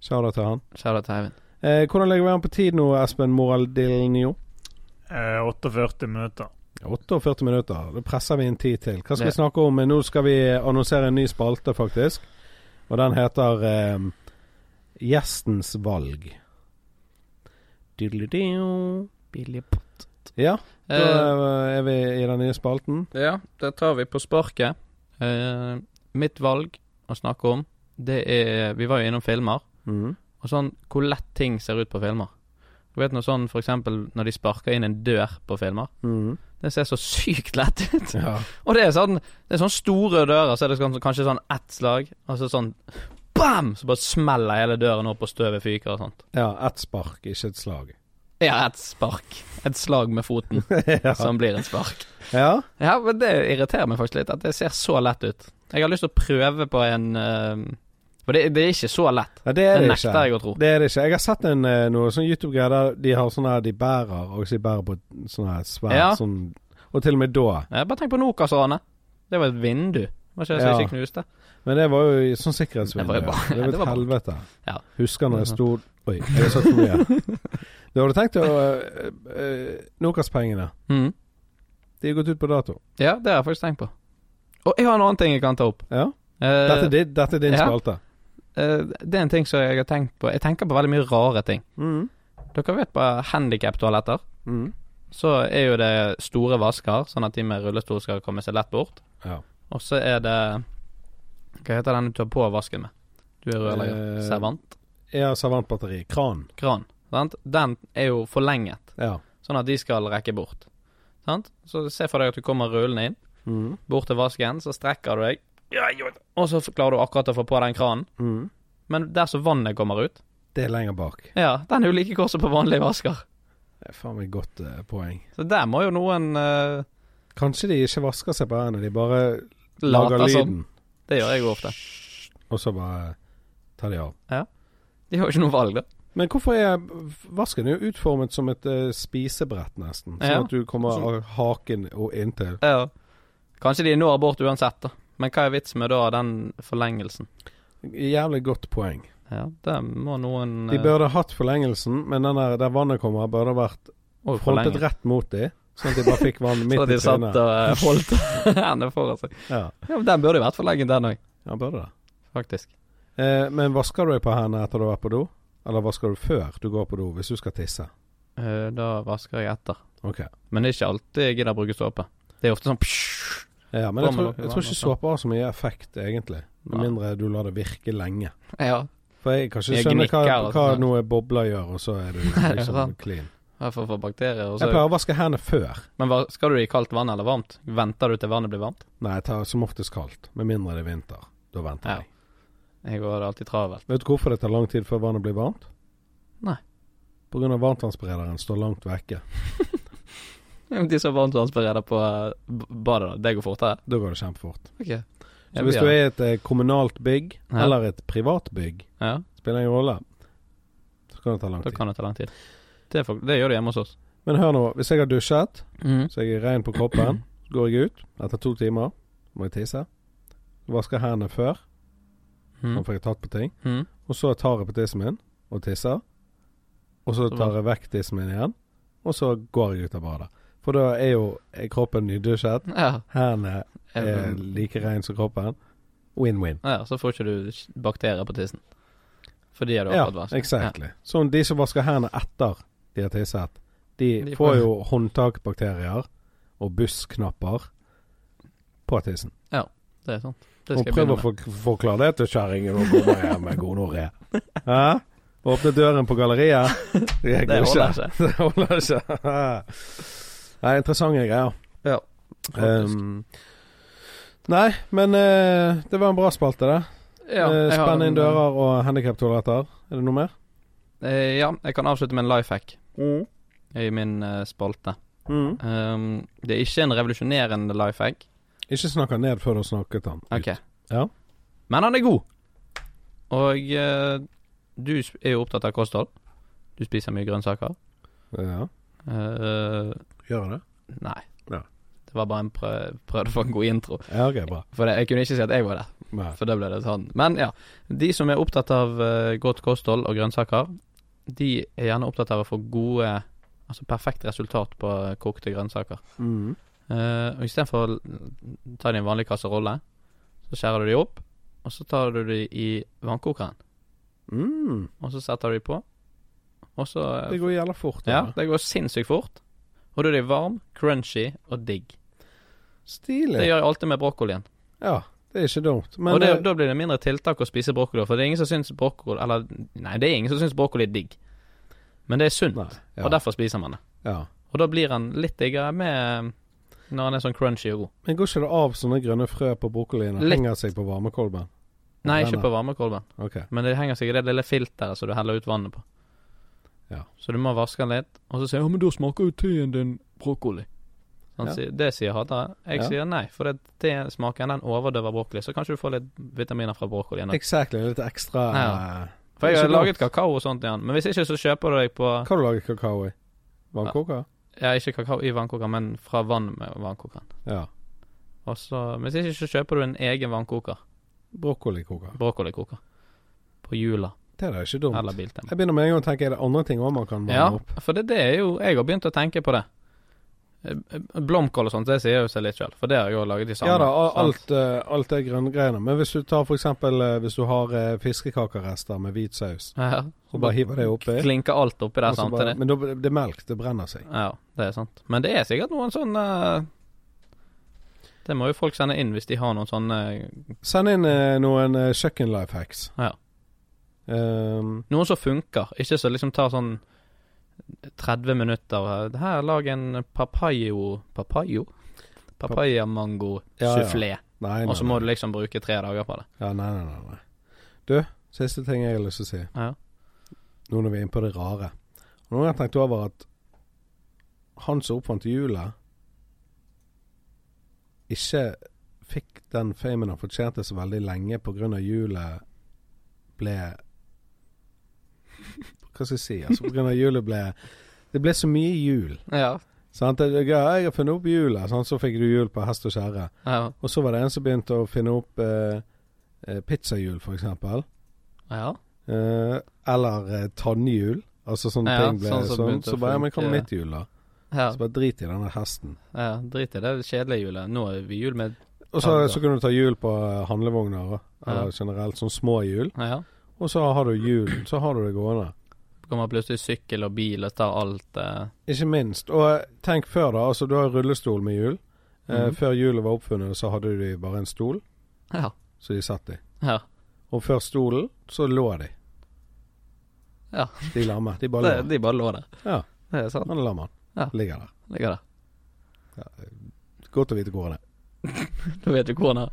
[SPEAKER 2] shout-out til han.
[SPEAKER 1] Shoutout til Eivind.
[SPEAKER 2] Eh, hvordan ligger vi an på tid nå, Espen Moraldilnio?
[SPEAKER 3] Eh, 48 minutter.
[SPEAKER 2] 48 minutter. Da presser vi inn tid til. Hva skal
[SPEAKER 1] Det-
[SPEAKER 2] vi snakke om? Nå skal vi annonsere en ny spalte, faktisk. Og den heter eh, Gjestens valg. Diddelidio.
[SPEAKER 1] Billig
[SPEAKER 2] Ja, da
[SPEAKER 1] Eh,
[SPEAKER 2] eh, er vi i den nye spalten.
[SPEAKER 1] Ja, det tar vi på sparket. Eh, mitt valg å snakke om, det er Vi var jo innom filmer,
[SPEAKER 2] Mhm.
[SPEAKER 1] og sånn hvor lett ting ser ut på filmer. Du vet noe sånn for eksempel når de sparker inn en dør på filmer.
[SPEAKER 2] Mhm.
[SPEAKER 1] Det ser så sykt lett ut. <laughs>
[SPEAKER 2] Ja.
[SPEAKER 1] Og det er sånn Det er sånn store dører, så er det sånn, kanskje sånn ett slag, og så sånn BAM! Så bare smeller hele døren opp, og støvet fyker og sånt.
[SPEAKER 2] ja, ett spark, ikke et slag. <laughs>
[SPEAKER 1] Ja, et spark. Et slag med foten
[SPEAKER 2] ja.
[SPEAKER 1] som blir et spark.
[SPEAKER 2] ja.
[SPEAKER 1] Ja, men det irriterer meg faktisk litt, at det ser så lett ut. Jeg har lyst til å prøve på en eh, For det, det er ikke så lett.
[SPEAKER 2] Nei, det
[SPEAKER 1] Det
[SPEAKER 2] er det
[SPEAKER 1] nekter
[SPEAKER 2] ikke.
[SPEAKER 1] jeg å tro.
[SPEAKER 2] Det er det ikke. Jeg har sett en, eh, noe sånn YouTube-greier der de har sånn her de bærer, og så de bærer på et sånn her svært
[SPEAKER 1] Ja.
[SPEAKER 2] sånn Og til og med da.
[SPEAKER 1] Ja, Eh, bare tenk på Nokas-ranet. Det var et vindu. Var ikke det som
[SPEAKER 2] Ja.
[SPEAKER 1] ikke knuste?
[SPEAKER 2] Men det var jo i sånn
[SPEAKER 1] Det var
[SPEAKER 2] sikkerhetsvindu.
[SPEAKER 1] jo bare-
[SPEAKER 2] Det var
[SPEAKER 1] <laughs> det
[SPEAKER 2] et
[SPEAKER 1] var bare-
[SPEAKER 2] helvete.
[SPEAKER 1] Ja.
[SPEAKER 2] Husker når jeg
[SPEAKER 1] Det er
[SPEAKER 2] sto Oi, jeg har sagt for mye.
[SPEAKER 1] <laughs>
[SPEAKER 2] Du hadde tenkt å eh, eh, Nokas-pengene.
[SPEAKER 1] Mhm.
[SPEAKER 2] De er gått ut på dato.
[SPEAKER 1] Ja, det har jeg faktisk tenkt på. Og jeg har en annen ting jeg kan ta opp.
[SPEAKER 2] Ja.
[SPEAKER 1] Eh,
[SPEAKER 2] Dette er din, dette er din
[SPEAKER 1] ja.
[SPEAKER 2] spalte.
[SPEAKER 1] eh, det er en ting som jeg har tenkt på. Jeg tenker på veldig mye rare ting.
[SPEAKER 2] Mhm.
[SPEAKER 1] Dere vet på handikap-toaletter,
[SPEAKER 2] Mhm.
[SPEAKER 1] så er jo det store vasker, sånn at de med rullestol skal komme seg lett bort.
[SPEAKER 2] Ja.
[SPEAKER 1] Og så er det Hva heter den du tar på vasken med? Du er rørlegger.
[SPEAKER 2] Eh,
[SPEAKER 1] Servant?
[SPEAKER 2] Ja, servantbatteri. Kran.
[SPEAKER 1] kran. Sant? Den er jo forlenget,
[SPEAKER 2] Ja.
[SPEAKER 1] sånn at de skal rekke bort. Sant? Så se for deg at du kommer rullende inn,
[SPEAKER 2] Mhm.
[SPEAKER 1] bort til vasken, så strekker du deg, og så klarer du akkurat å få på den kranen.
[SPEAKER 2] Mhm.
[SPEAKER 1] Men der som vannet kommer ut,
[SPEAKER 4] Det er lenger bak.
[SPEAKER 1] Ja, den er jo like kort som på vanlige vasker.
[SPEAKER 4] Det er faen meg et godt eh, poeng.
[SPEAKER 1] Så der må jo noen eh,
[SPEAKER 2] Kanskje de ikke vasker seg på hendene, de bare lager
[SPEAKER 1] late som.
[SPEAKER 2] lyden,
[SPEAKER 1] Det gjør jeg jo ofte.
[SPEAKER 4] Og så bare tar de av.
[SPEAKER 1] De har jo ikke noe valg, da.
[SPEAKER 2] Men hvorfor er vasken er jo utformet som et eh, spisebrett, nesten? Sånn
[SPEAKER 1] Ja.
[SPEAKER 2] at du kommer av haken og inntil.
[SPEAKER 1] Ja. Kanskje de når abort uansett, da. Men hva er vitsen med da den forlengelsen?
[SPEAKER 2] Jævlig godt poeng.
[SPEAKER 1] Ja, der må noen
[SPEAKER 2] De burde hatt forlengelsen, men den der, der vannet kommer, burde vært
[SPEAKER 1] uh,
[SPEAKER 2] frontet rett mot dem, sånn at de bare
[SPEAKER 1] <laughs>
[SPEAKER 2] fikk vann
[SPEAKER 1] Så
[SPEAKER 2] midt
[SPEAKER 1] de
[SPEAKER 2] i
[SPEAKER 1] satt
[SPEAKER 2] trynet.
[SPEAKER 1] og eh, holdt <laughs> hendene foran seg.
[SPEAKER 2] Ja.
[SPEAKER 1] Ja, men Den burde jo vært forlenget, den òg,
[SPEAKER 2] ja, burde det.
[SPEAKER 1] faktisk.
[SPEAKER 2] Eh, men vasker du deg på hendene etter du har vært på do? Eller vasker du før du går på do, hvis du skal tisse?
[SPEAKER 1] Eh, da vasker jeg etter.
[SPEAKER 2] Ok.
[SPEAKER 1] Men det er ikke alltid jeg gidder å bruke såpe. Det er ofte sånn psj.
[SPEAKER 2] Ja, men jeg
[SPEAKER 1] Kommer
[SPEAKER 2] tror,
[SPEAKER 1] det
[SPEAKER 2] jeg tror
[SPEAKER 1] vann
[SPEAKER 2] ikke
[SPEAKER 1] også?
[SPEAKER 2] såpe har så mye effekt, egentlig. Med
[SPEAKER 1] Nei.
[SPEAKER 2] mindre du lar det virke lenge.
[SPEAKER 1] Ja,
[SPEAKER 2] For jeg kan ikke
[SPEAKER 1] Jeg
[SPEAKER 2] skjønne hva,
[SPEAKER 1] gnikker og
[SPEAKER 2] hva
[SPEAKER 1] sånn.
[SPEAKER 2] noe bobler gjør, og så er du
[SPEAKER 1] <laughs> Nei, det er
[SPEAKER 2] liksom
[SPEAKER 1] sant.
[SPEAKER 2] clean.
[SPEAKER 1] her for å få bakterier. Og
[SPEAKER 2] Jeg
[SPEAKER 1] så.
[SPEAKER 2] pleier å vaske hendene før.
[SPEAKER 1] Men hva, skal du i kaldt vann eller varmt? Venter du til vannet blir varmt?
[SPEAKER 2] Nei, jeg tar som oftest kaldt. Med mindre det er vinter. Da venter
[SPEAKER 1] Ja.
[SPEAKER 2] jeg.
[SPEAKER 1] Jeg går alltid travelt.
[SPEAKER 2] Vet du hvorfor det tar lang tid før vannet blir varmt?
[SPEAKER 1] Nei.
[SPEAKER 2] På grunn av varmtvannsberederen står langt vekke.
[SPEAKER 1] Ja, men De som varmtvannsbereder på eh, b- badet, da. Det går fortere.
[SPEAKER 2] Da går det kjempefort.
[SPEAKER 1] Ok. Ja,
[SPEAKER 2] Så
[SPEAKER 1] vi
[SPEAKER 2] hvis du
[SPEAKER 1] gjør det.
[SPEAKER 2] er i et eh, kommunalt bygg,
[SPEAKER 1] Ja.
[SPEAKER 2] eller et privat bygg,
[SPEAKER 1] Ja,
[SPEAKER 2] spiller ingen rolle, så kan det ta lang
[SPEAKER 1] da
[SPEAKER 2] tid.
[SPEAKER 1] kan det ta lang tid. Det, er folk- det gjør det hjemme hos oss.
[SPEAKER 2] Men hør nå, hvis jeg har dusjet
[SPEAKER 1] Mm.
[SPEAKER 2] Så jeg er ren på kroppen. Så går jeg ut. Etter to timer må jeg tisse. Vasker hendene før,
[SPEAKER 1] Mm.
[SPEAKER 2] sånn får jeg tatt på ting.
[SPEAKER 1] Mm.
[SPEAKER 2] Og så tar jeg på tissen min og tisser. Og så tar jeg vekk tissen min igjen, og så går jeg ut av badet. For da er jo eh, kroppen nydusjet.
[SPEAKER 1] Ja.
[SPEAKER 2] Hendene er
[SPEAKER 1] Eh,
[SPEAKER 2] like rene som kroppen. Win-win.
[SPEAKER 1] ja, så får ikke du s- bakterier på tissen. Fordi du har
[SPEAKER 2] Ja,
[SPEAKER 1] fått vask.
[SPEAKER 2] exactly. Sånn de som vasker hendene etter de har tisset, de
[SPEAKER 1] De får-
[SPEAKER 2] får jo håndtakbakterier og bussknapper på tissen.
[SPEAKER 1] Det er sant. Det
[SPEAKER 2] Og
[SPEAKER 1] skal jeg
[SPEAKER 2] prøv
[SPEAKER 1] begynne
[SPEAKER 2] å
[SPEAKER 1] med.
[SPEAKER 2] for- forklare det til kjerringen når hun kommer hjem med gonoré. Hæ? Åpne døren
[SPEAKER 1] <laughs>
[SPEAKER 2] på galleriet.
[SPEAKER 1] Det
[SPEAKER 2] Jeg går
[SPEAKER 1] holder
[SPEAKER 2] ikke.
[SPEAKER 1] ikke.
[SPEAKER 2] <laughs> Det holder ikke. Nei, interessante greier.
[SPEAKER 1] Ja, faktisk.
[SPEAKER 2] Ehm, nei, men eh, det var en bra spalte, det.
[SPEAKER 1] Ja,
[SPEAKER 2] Eh,
[SPEAKER 1] jeg har
[SPEAKER 2] Spenn inn
[SPEAKER 1] en-
[SPEAKER 2] dører og handikaptoaletter. Er det noe mer?
[SPEAKER 1] Eh, ja, jeg kan avslutte med en life hack i min eh, spalte.
[SPEAKER 2] Mm.
[SPEAKER 1] Ehm, det er ikke en revolusjonerende life hack.
[SPEAKER 2] Ikke snakk han ned før du har snakket han. ut.
[SPEAKER 1] Ok.
[SPEAKER 2] Ja.
[SPEAKER 1] Men han er god. Og eh, du sp- er jo opptatt av kosthold. Du spiser mye grønnsaker.
[SPEAKER 2] Ja.
[SPEAKER 1] Eh,
[SPEAKER 2] Gjør han det?
[SPEAKER 1] nei.
[SPEAKER 2] Ja.
[SPEAKER 1] Det var bare en prøv, prøvde å få en god intro.
[SPEAKER 2] Ja, ok, bra.
[SPEAKER 1] For det, jeg kunne ikke si at jeg var der,
[SPEAKER 2] Nei.
[SPEAKER 1] for da ble det sånn. Men ja. De som er opptatt av eh, godt kosthold og grønnsaker, de er gjerne opptatt av å få gode Altså perfekt resultat på eh, kokte grønnsaker.
[SPEAKER 2] Mm.
[SPEAKER 1] Eh, og istedenfor å l- ta det i en vanlig kasserolle, så skjærer du de opp, og så tar du de i vannkokeren.
[SPEAKER 2] Mm.
[SPEAKER 1] Og så setter du de på, og så eh,
[SPEAKER 2] Det går jævla fort.
[SPEAKER 1] Ja,
[SPEAKER 2] da.
[SPEAKER 1] det går sinnssykt fort. Og da er de varm, crunchy og digg. Det
[SPEAKER 2] Stilig.
[SPEAKER 1] gjør jeg alltid med brokkolien.
[SPEAKER 2] Ja, det er ikke dumt. Men
[SPEAKER 1] og det,
[SPEAKER 2] eh,
[SPEAKER 1] da blir det mindre tiltak å spise brokkoli, for det er ingen som syns brokkoli Eller nei, det er ingen som syns brokkoli er digg, men det er sunt,
[SPEAKER 2] Nei, ja.
[SPEAKER 1] og derfor spiser man det.
[SPEAKER 2] ja.
[SPEAKER 1] Og da blir han litt diggere med når han er sånn crunchy og god.
[SPEAKER 2] Men går ikke det av sånne grønne frø på brokkolien og
[SPEAKER 1] Litt.
[SPEAKER 2] henger seg på varmekolben?
[SPEAKER 1] Nei,
[SPEAKER 2] Brenner.
[SPEAKER 1] ikke på varmekolben.
[SPEAKER 2] Ok.
[SPEAKER 1] Men det henger seg i det lille filteret som du heller ut vannet på.
[SPEAKER 2] Ja.
[SPEAKER 1] Så du må vaske den litt, og så sier jeg, 'Ja, men da smaker jo teen din brokkoli'. Han
[SPEAKER 2] Ja.
[SPEAKER 1] sier, det sier hatere. Jeg
[SPEAKER 2] Ja.
[SPEAKER 1] sier nei, for det tesmaken den overdøver brokkoli. Så kanskje du får litt vitaminer fra brokkolien. også.
[SPEAKER 2] Exactly. Litt ekstra
[SPEAKER 1] Ja.
[SPEAKER 2] eh,
[SPEAKER 1] For jeg har
[SPEAKER 2] ikke dumt.
[SPEAKER 1] laget kakao og sånt i den, men hvis ikke så kjøper du deg på
[SPEAKER 2] Hva har du laget kakao i? Vannkoker?
[SPEAKER 1] Ja, ikke kakao i vannkoker, men fra vann med vannkokeren.
[SPEAKER 2] Ja.
[SPEAKER 1] Og så, Hvis ikke så kjøper du en egen vannkoker,
[SPEAKER 2] Brokkolikoker.
[SPEAKER 1] brokkolikoker, på Jula
[SPEAKER 2] Det er da ikke dumt.
[SPEAKER 1] eller Biltema.
[SPEAKER 2] Jeg begynner med en gang å tenke er det andre ting også man kan varme
[SPEAKER 1] Ja,
[SPEAKER 2] opp?
[SPEAKER 1] for det, det er jo Jeg har begynt å tenke på det. Eh, eh, Blomkål og sånt, det sier jo seg litt sjøl, for det har jeg jo laget i sammen.
[SPEAKER 2] Ja da, a-
[SPEAKER 1] sant?
[SPEAKER 2] alt, eh, alt er grønngreiene. Men hvis du tar for eksempel eh, hvis du har eh, fiskekakerester med hvit saus,
[SPEAKER 1] Ja,
[SPEAKER 2] så bare hiver det oppi.
[SPEAKER 1] Klinker alt oppi
[SPEAKER 2] og
[SPEAKER 1] der
[SPEAKER 2] så bare-
[SPEAKER 1] samtidig.
[SPEAKER 2] Men da, det er melk. Det brenner seg.
[SPEAKER 1] Ja, det er sant. Men det er sikkert noen sånne Det må jo folk sende inn hvis de har noen sånne
[SPEAKER 2] Send inn eh, noen eh, kjøkken life hacks.
[SPEAKER 1] Ja.
[SPEAKER 2] Ehm,
[SPEAKER 1] Noen som funker, ikke som liksom tar sånn 30 minutter eh, Her, lag en papayo Papayo?
[SPEAKER 2] Ja, ja.
[SPEAKER 1] Papayamango-sufflé.
[SPEAKER 2] nei, nei.
[SPEAKER 1] Og så må du liksom bruke tre dager på det.
[SPEAKER 2] Ja, nei, nei, nei, nei. Du, siste ting jeg har lyst til å si.
[SPEAKER 1] Ja.
[SPEAKER 2] nå når vi er inne på det rare. Og nå har jeg tenkt over at han som oppfant hjulet, ikke fikk den famen han fortjente så veldig lenge pga. hjulet ble Hva skal jeg si? Altså pga. hjulet ble Det ble så mye hjul.
[SPEAKER 5] Ja.
[SPEAKER 2] Sant? Det er gøy, Jeg har funnet opp hjulet, sant? så fikk du hjul på hest og kjerre.
[SPEAKER 5] Ja.
[SPEAKER 2] Og så var det en som begynte å finne opp eh, eh, pizzahjul, for eksempel.
[SPEAKER 5] ja.
[SPEAKER 2] Eh, eller eh, tannhjul. Altså sånne
[SPEAKER 5] Ja,
[SPEAKER 2] ting ble
[SPEAKER 5] sånn
[SPEAKER 2] sånn.
[SPEAKER 5] som
[SPEAKER 2] sånn
[SPEAKER 5] begynte
[SPEAKER 2] så
[SPEAKER 5] å
[SPEAKER 2] bare, ja, men hva med
[SPEAKER 5] funke-
[SPEAKER 2] mitt hjul, da?
[SPEAKER 5] ja.
[SPEAKER 2] Så bare drit i denne hesten.
[SPEAKER 5] ja. Drit i det kjedelige hjulet. Nå er vi jul med
[SPEAKER 2] Og så,
[SPEAKER 5] Ja, da.
[SPEAKER 2] så kan du ta hjul på eh, handlevogner, da.
[SPEAKER 5] Ja.
[SPEAKER 2] eller generelt sånn små hjul.
[SPEAKER 5] Ja.
[SPEAKER 2] Og så har du hjul, så har du det gående.
[SPEAKER 5] Kommer plutselig sykkel og bil og tar alt. eh.
[SPEAKER 2] Ikke minst. Og eh, tenk før, da. Altså, du har rullestol med hjul. Eh,
[SPEAKER 5] Mhm.
[SPEAKER 2] Før hjulet var oppfunnet, så hadde de bare en stol,
[SPEAKER 5] Ja.
[SPEAKER 2] så de satt i.
[SPEAKER 5] ja.
[SPEAKER 2] Og før stolen, så lå de.
[SPEAKER 5] Ja.
[SPEAKER 2] De lamme. De bare
[SPEAKER 5] Det,
[SPEAKER 2] lå.
[SPEAKER 5] de bare lå der.
[SPEAKER 2] Ja.
[SPEAKER 5] Det er sant.
[SPEAKER 2] Han er lam, han.
[SPEAKER 5] Ja.
[SPEAKER 2] Ligger der.
[SPEAKER 5] Ligger der.
[SPEAKER 2] Godt å vite hvor han er.
[SPEAKER 5] Nå vet du hvor han er.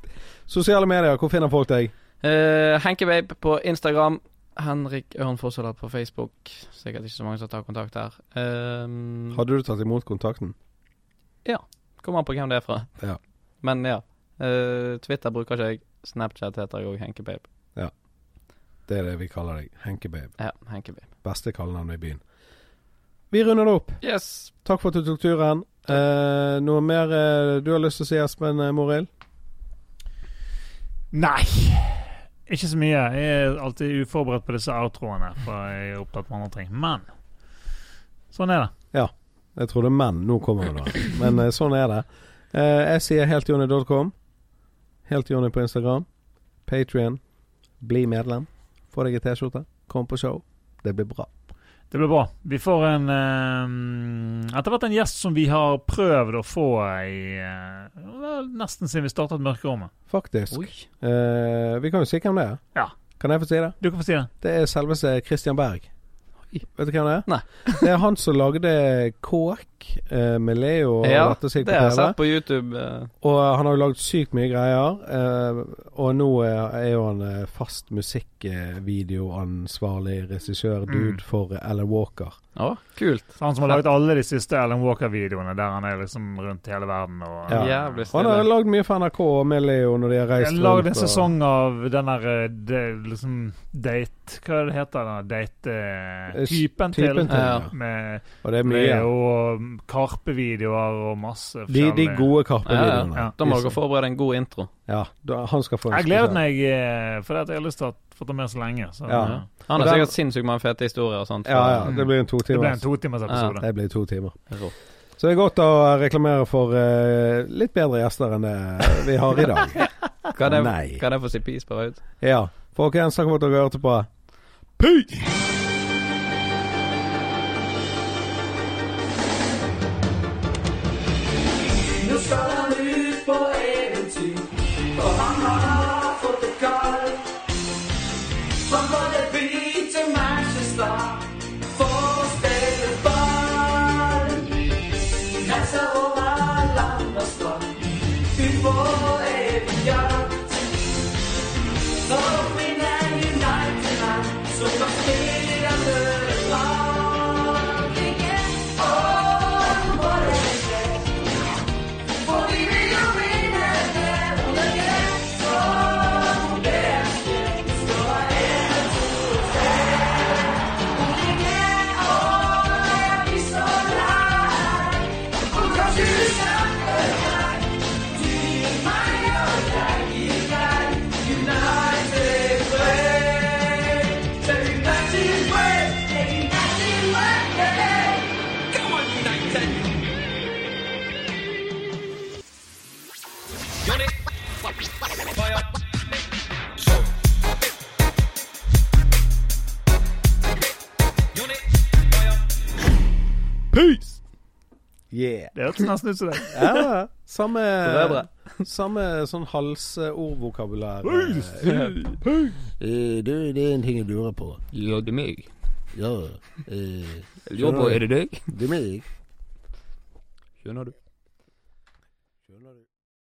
[SPEAKER 2] Sosiale medier, hvor finner folk deg?
[SPEAKER 5] Eh, Henkebabe på Instagram. Henrik Ørn Fossåler på Facebook. Sikkert ikke så mange som tar kontakt der. Um,
[SPEAKER 2] Hadde du tatt imot kontakten?
[SPEAKER 5] Kommer an på hvem det er fra.
[SPEAKER 2] Ja.
[SPEAKER 5] Men ja. eh, Twitter bruker ikke jeg. Snapchat heter jeg òg Henkebabe.
[SPEAKER 2] Det er det vi kaller deg. Henkebabe.
[SPEAKER 5] Ja, Henkebabe.
[SPEAKER 2] Beste kallenavnet i byen. Vi runder det opp.
[SPEAKER 5] Yes!
[SPEAKER 2] Takk for at du tok turen. Eh, noe mer eh, du har lyst til å si, Espen eh, Morild?
[SPEAKER 3] Nei. Ikke så mye. Jeg er alltid uforberedt på disse outroene, for jeg er opptatt med andre ting. Men sånn er det.
[SPEAKER 2] Jeg trodde menn. Nå kommer det, da. Men eh, sånn er det. Eh, jeg sier heltjonny.com. Heltjonny på Instagram. Patrion. Bli medlem. Få deg en T-skjorte. Kom på show. Det blir bra.
[SPEAKER 3] Det blir bra. Vi får en eh, Etter hvert en gjest som vi har prøvd å få i eh, vel, Nesten siden vi startet Mørkerommet.
[SPEAKER 2] Faktisk.
[SPEAKER 5] Oi.
[SPEAKER 2] Eh, vi kan jo si hvem det er.
[SPEAKER 3] Ja.
[SPEAKER 2] Kan jeg få si det?
[SPEAKER 3] Du kan få si det.
[SPEAKER 2] Det er selveste Christian Berg.
[SPEAKER 5] Oi.
[SPEAKER 2] Vet du hvem det er?
[SPEAKER 5] Nei.
[SPEAKER 2] <laughs> det er han som lagde Kåk eh, med Leo og
[SPEAKER 5] Ja,
[SPEAKER 2] dette som gikk
[SPEAKER 5] Det
[SPEAKER 2] på
[SPEAKER 5] har jeg
[SPEAKER 2] TV.
[SPEAKER 5] sett på YouTube. eh.
[SPEAKER 2] Og han har jo lagd sykt mye greier. eh, og nå er er jo han eh, fast musikkvideoansvarlig regissør-dude
[SPEAKER 3] Mm.
[SPEAKER 2] for Ellen Walker.
[SPEAKER 5] Å, kult.
[SPEAKER 3] Han som har laget alle de siste Alan Walker-videoene, der han er liksom rundt i hele verden og
[SPEAKER 2] Ja.
[SPEAKER 5] Jævlig
[SPEAKER 2] Og han har
[SPEAKER 5] stille.
[SPEAKER 2] lagd mye for NRK og med Leo når de har reist
[SPEAKER 3] Jeg lagde en
[SPEAKER 2] rundt og-
[SPEAKER 3] sesong av den der eh, de, liksom date Hva er det heter den
[SPEAKER 2] Eh, s-
[SPEAKER 3] date-typen til?
[SPEAKER 2] Typen til, ja.
[SPEAKER 5] Ja.
[SPEAKER 3] Med
[SPEAKER 2] Og det er mye.
[SPEAKER 3] Leo og mm, Karpe-videoer og masse
[SPEAKER 2] De, de
[SPEAKER 3] forskjellige
[SPEAKER 2] gode Karpe-videoene.
[SPEAKER 3] Ja, ja.
[SPEAKER 5] Da må dere forberede en god intro.
[SPEAKER 2] Ja, da- han skal få en
[SPEAKER 3] Jeg gleder
[SPEAKER 2] spesial.
[SPEAKER 3] meg, eh, for det at jeg har lyst til å få ta med så lenge. Så
[SPEAKER 2] Ja.
[SPEAKER 3] eh,
[SPEAKER 5] Han har
[SPEAKER 2] Og den-
[SPEAKER 5] sikkert sinnssykt mange fete historier og sånt.
[SPEAKER 2] Ja, ja.
[SPEAKER 3] Mm.
[SPEAKER 2] Det blir en to
[SPEAKER 3] det
[SPEAKER 2] timer. altså.
[SPEAKER 3] ble en totimersepisode.
[SPEAKER 2] Det blir to timer.
[SPEAKER 5] Rå.
[SPEAKER 2] Så det er godt å reklamere for eh, litt bedre gjester enn det vi har i dag.
[SPEAKER 3] <laughs>
[SPEAKER 5] Kan jeg,
[SPEAKER 4] Nei.
[SPEAKER 5] kan jeg få si peace på vei ut?
[SPEAKER 2] Ja. Folkens, takk for at dere hørte på.
[SPEAKER 6] Nu skal han ut på eventyr, og han har fått det kaldt. Fra Volleby til Manchester for å spille ball. Reiser over land og strand, ut på evig jakt. Når vinner United han, så kan spillerne dra. Oh, what a day. For vi vil jo vinne verden igjen. Så det er slik. Så er det sol og fred. Og lenge år er vi så lei. Og kanskje du savner meg. Du i meg og jeg i deg. United way. The United way. The United way. Come on, United.
[SPEAKER 2] Yeah.
[SPEAKER 3] Det hørtes nesten ut som det.
[SPEAKER 2] Ja, samme,
[SPEAKER 5] Brødre.
[SPEAKER 2] samme sånn halsordvokabulær.
[SPEAKER 4] Eh, du, det er en ting jeg lurer på.
[SPEAKER 5] Ja, det er meg.
[SPEAKER 4] Ja, eh,
[SPEAKER 5] Lurer på, er det deg?
[SPEAKER 4] det er meg.
[SPEAKER 5] Skjønner du?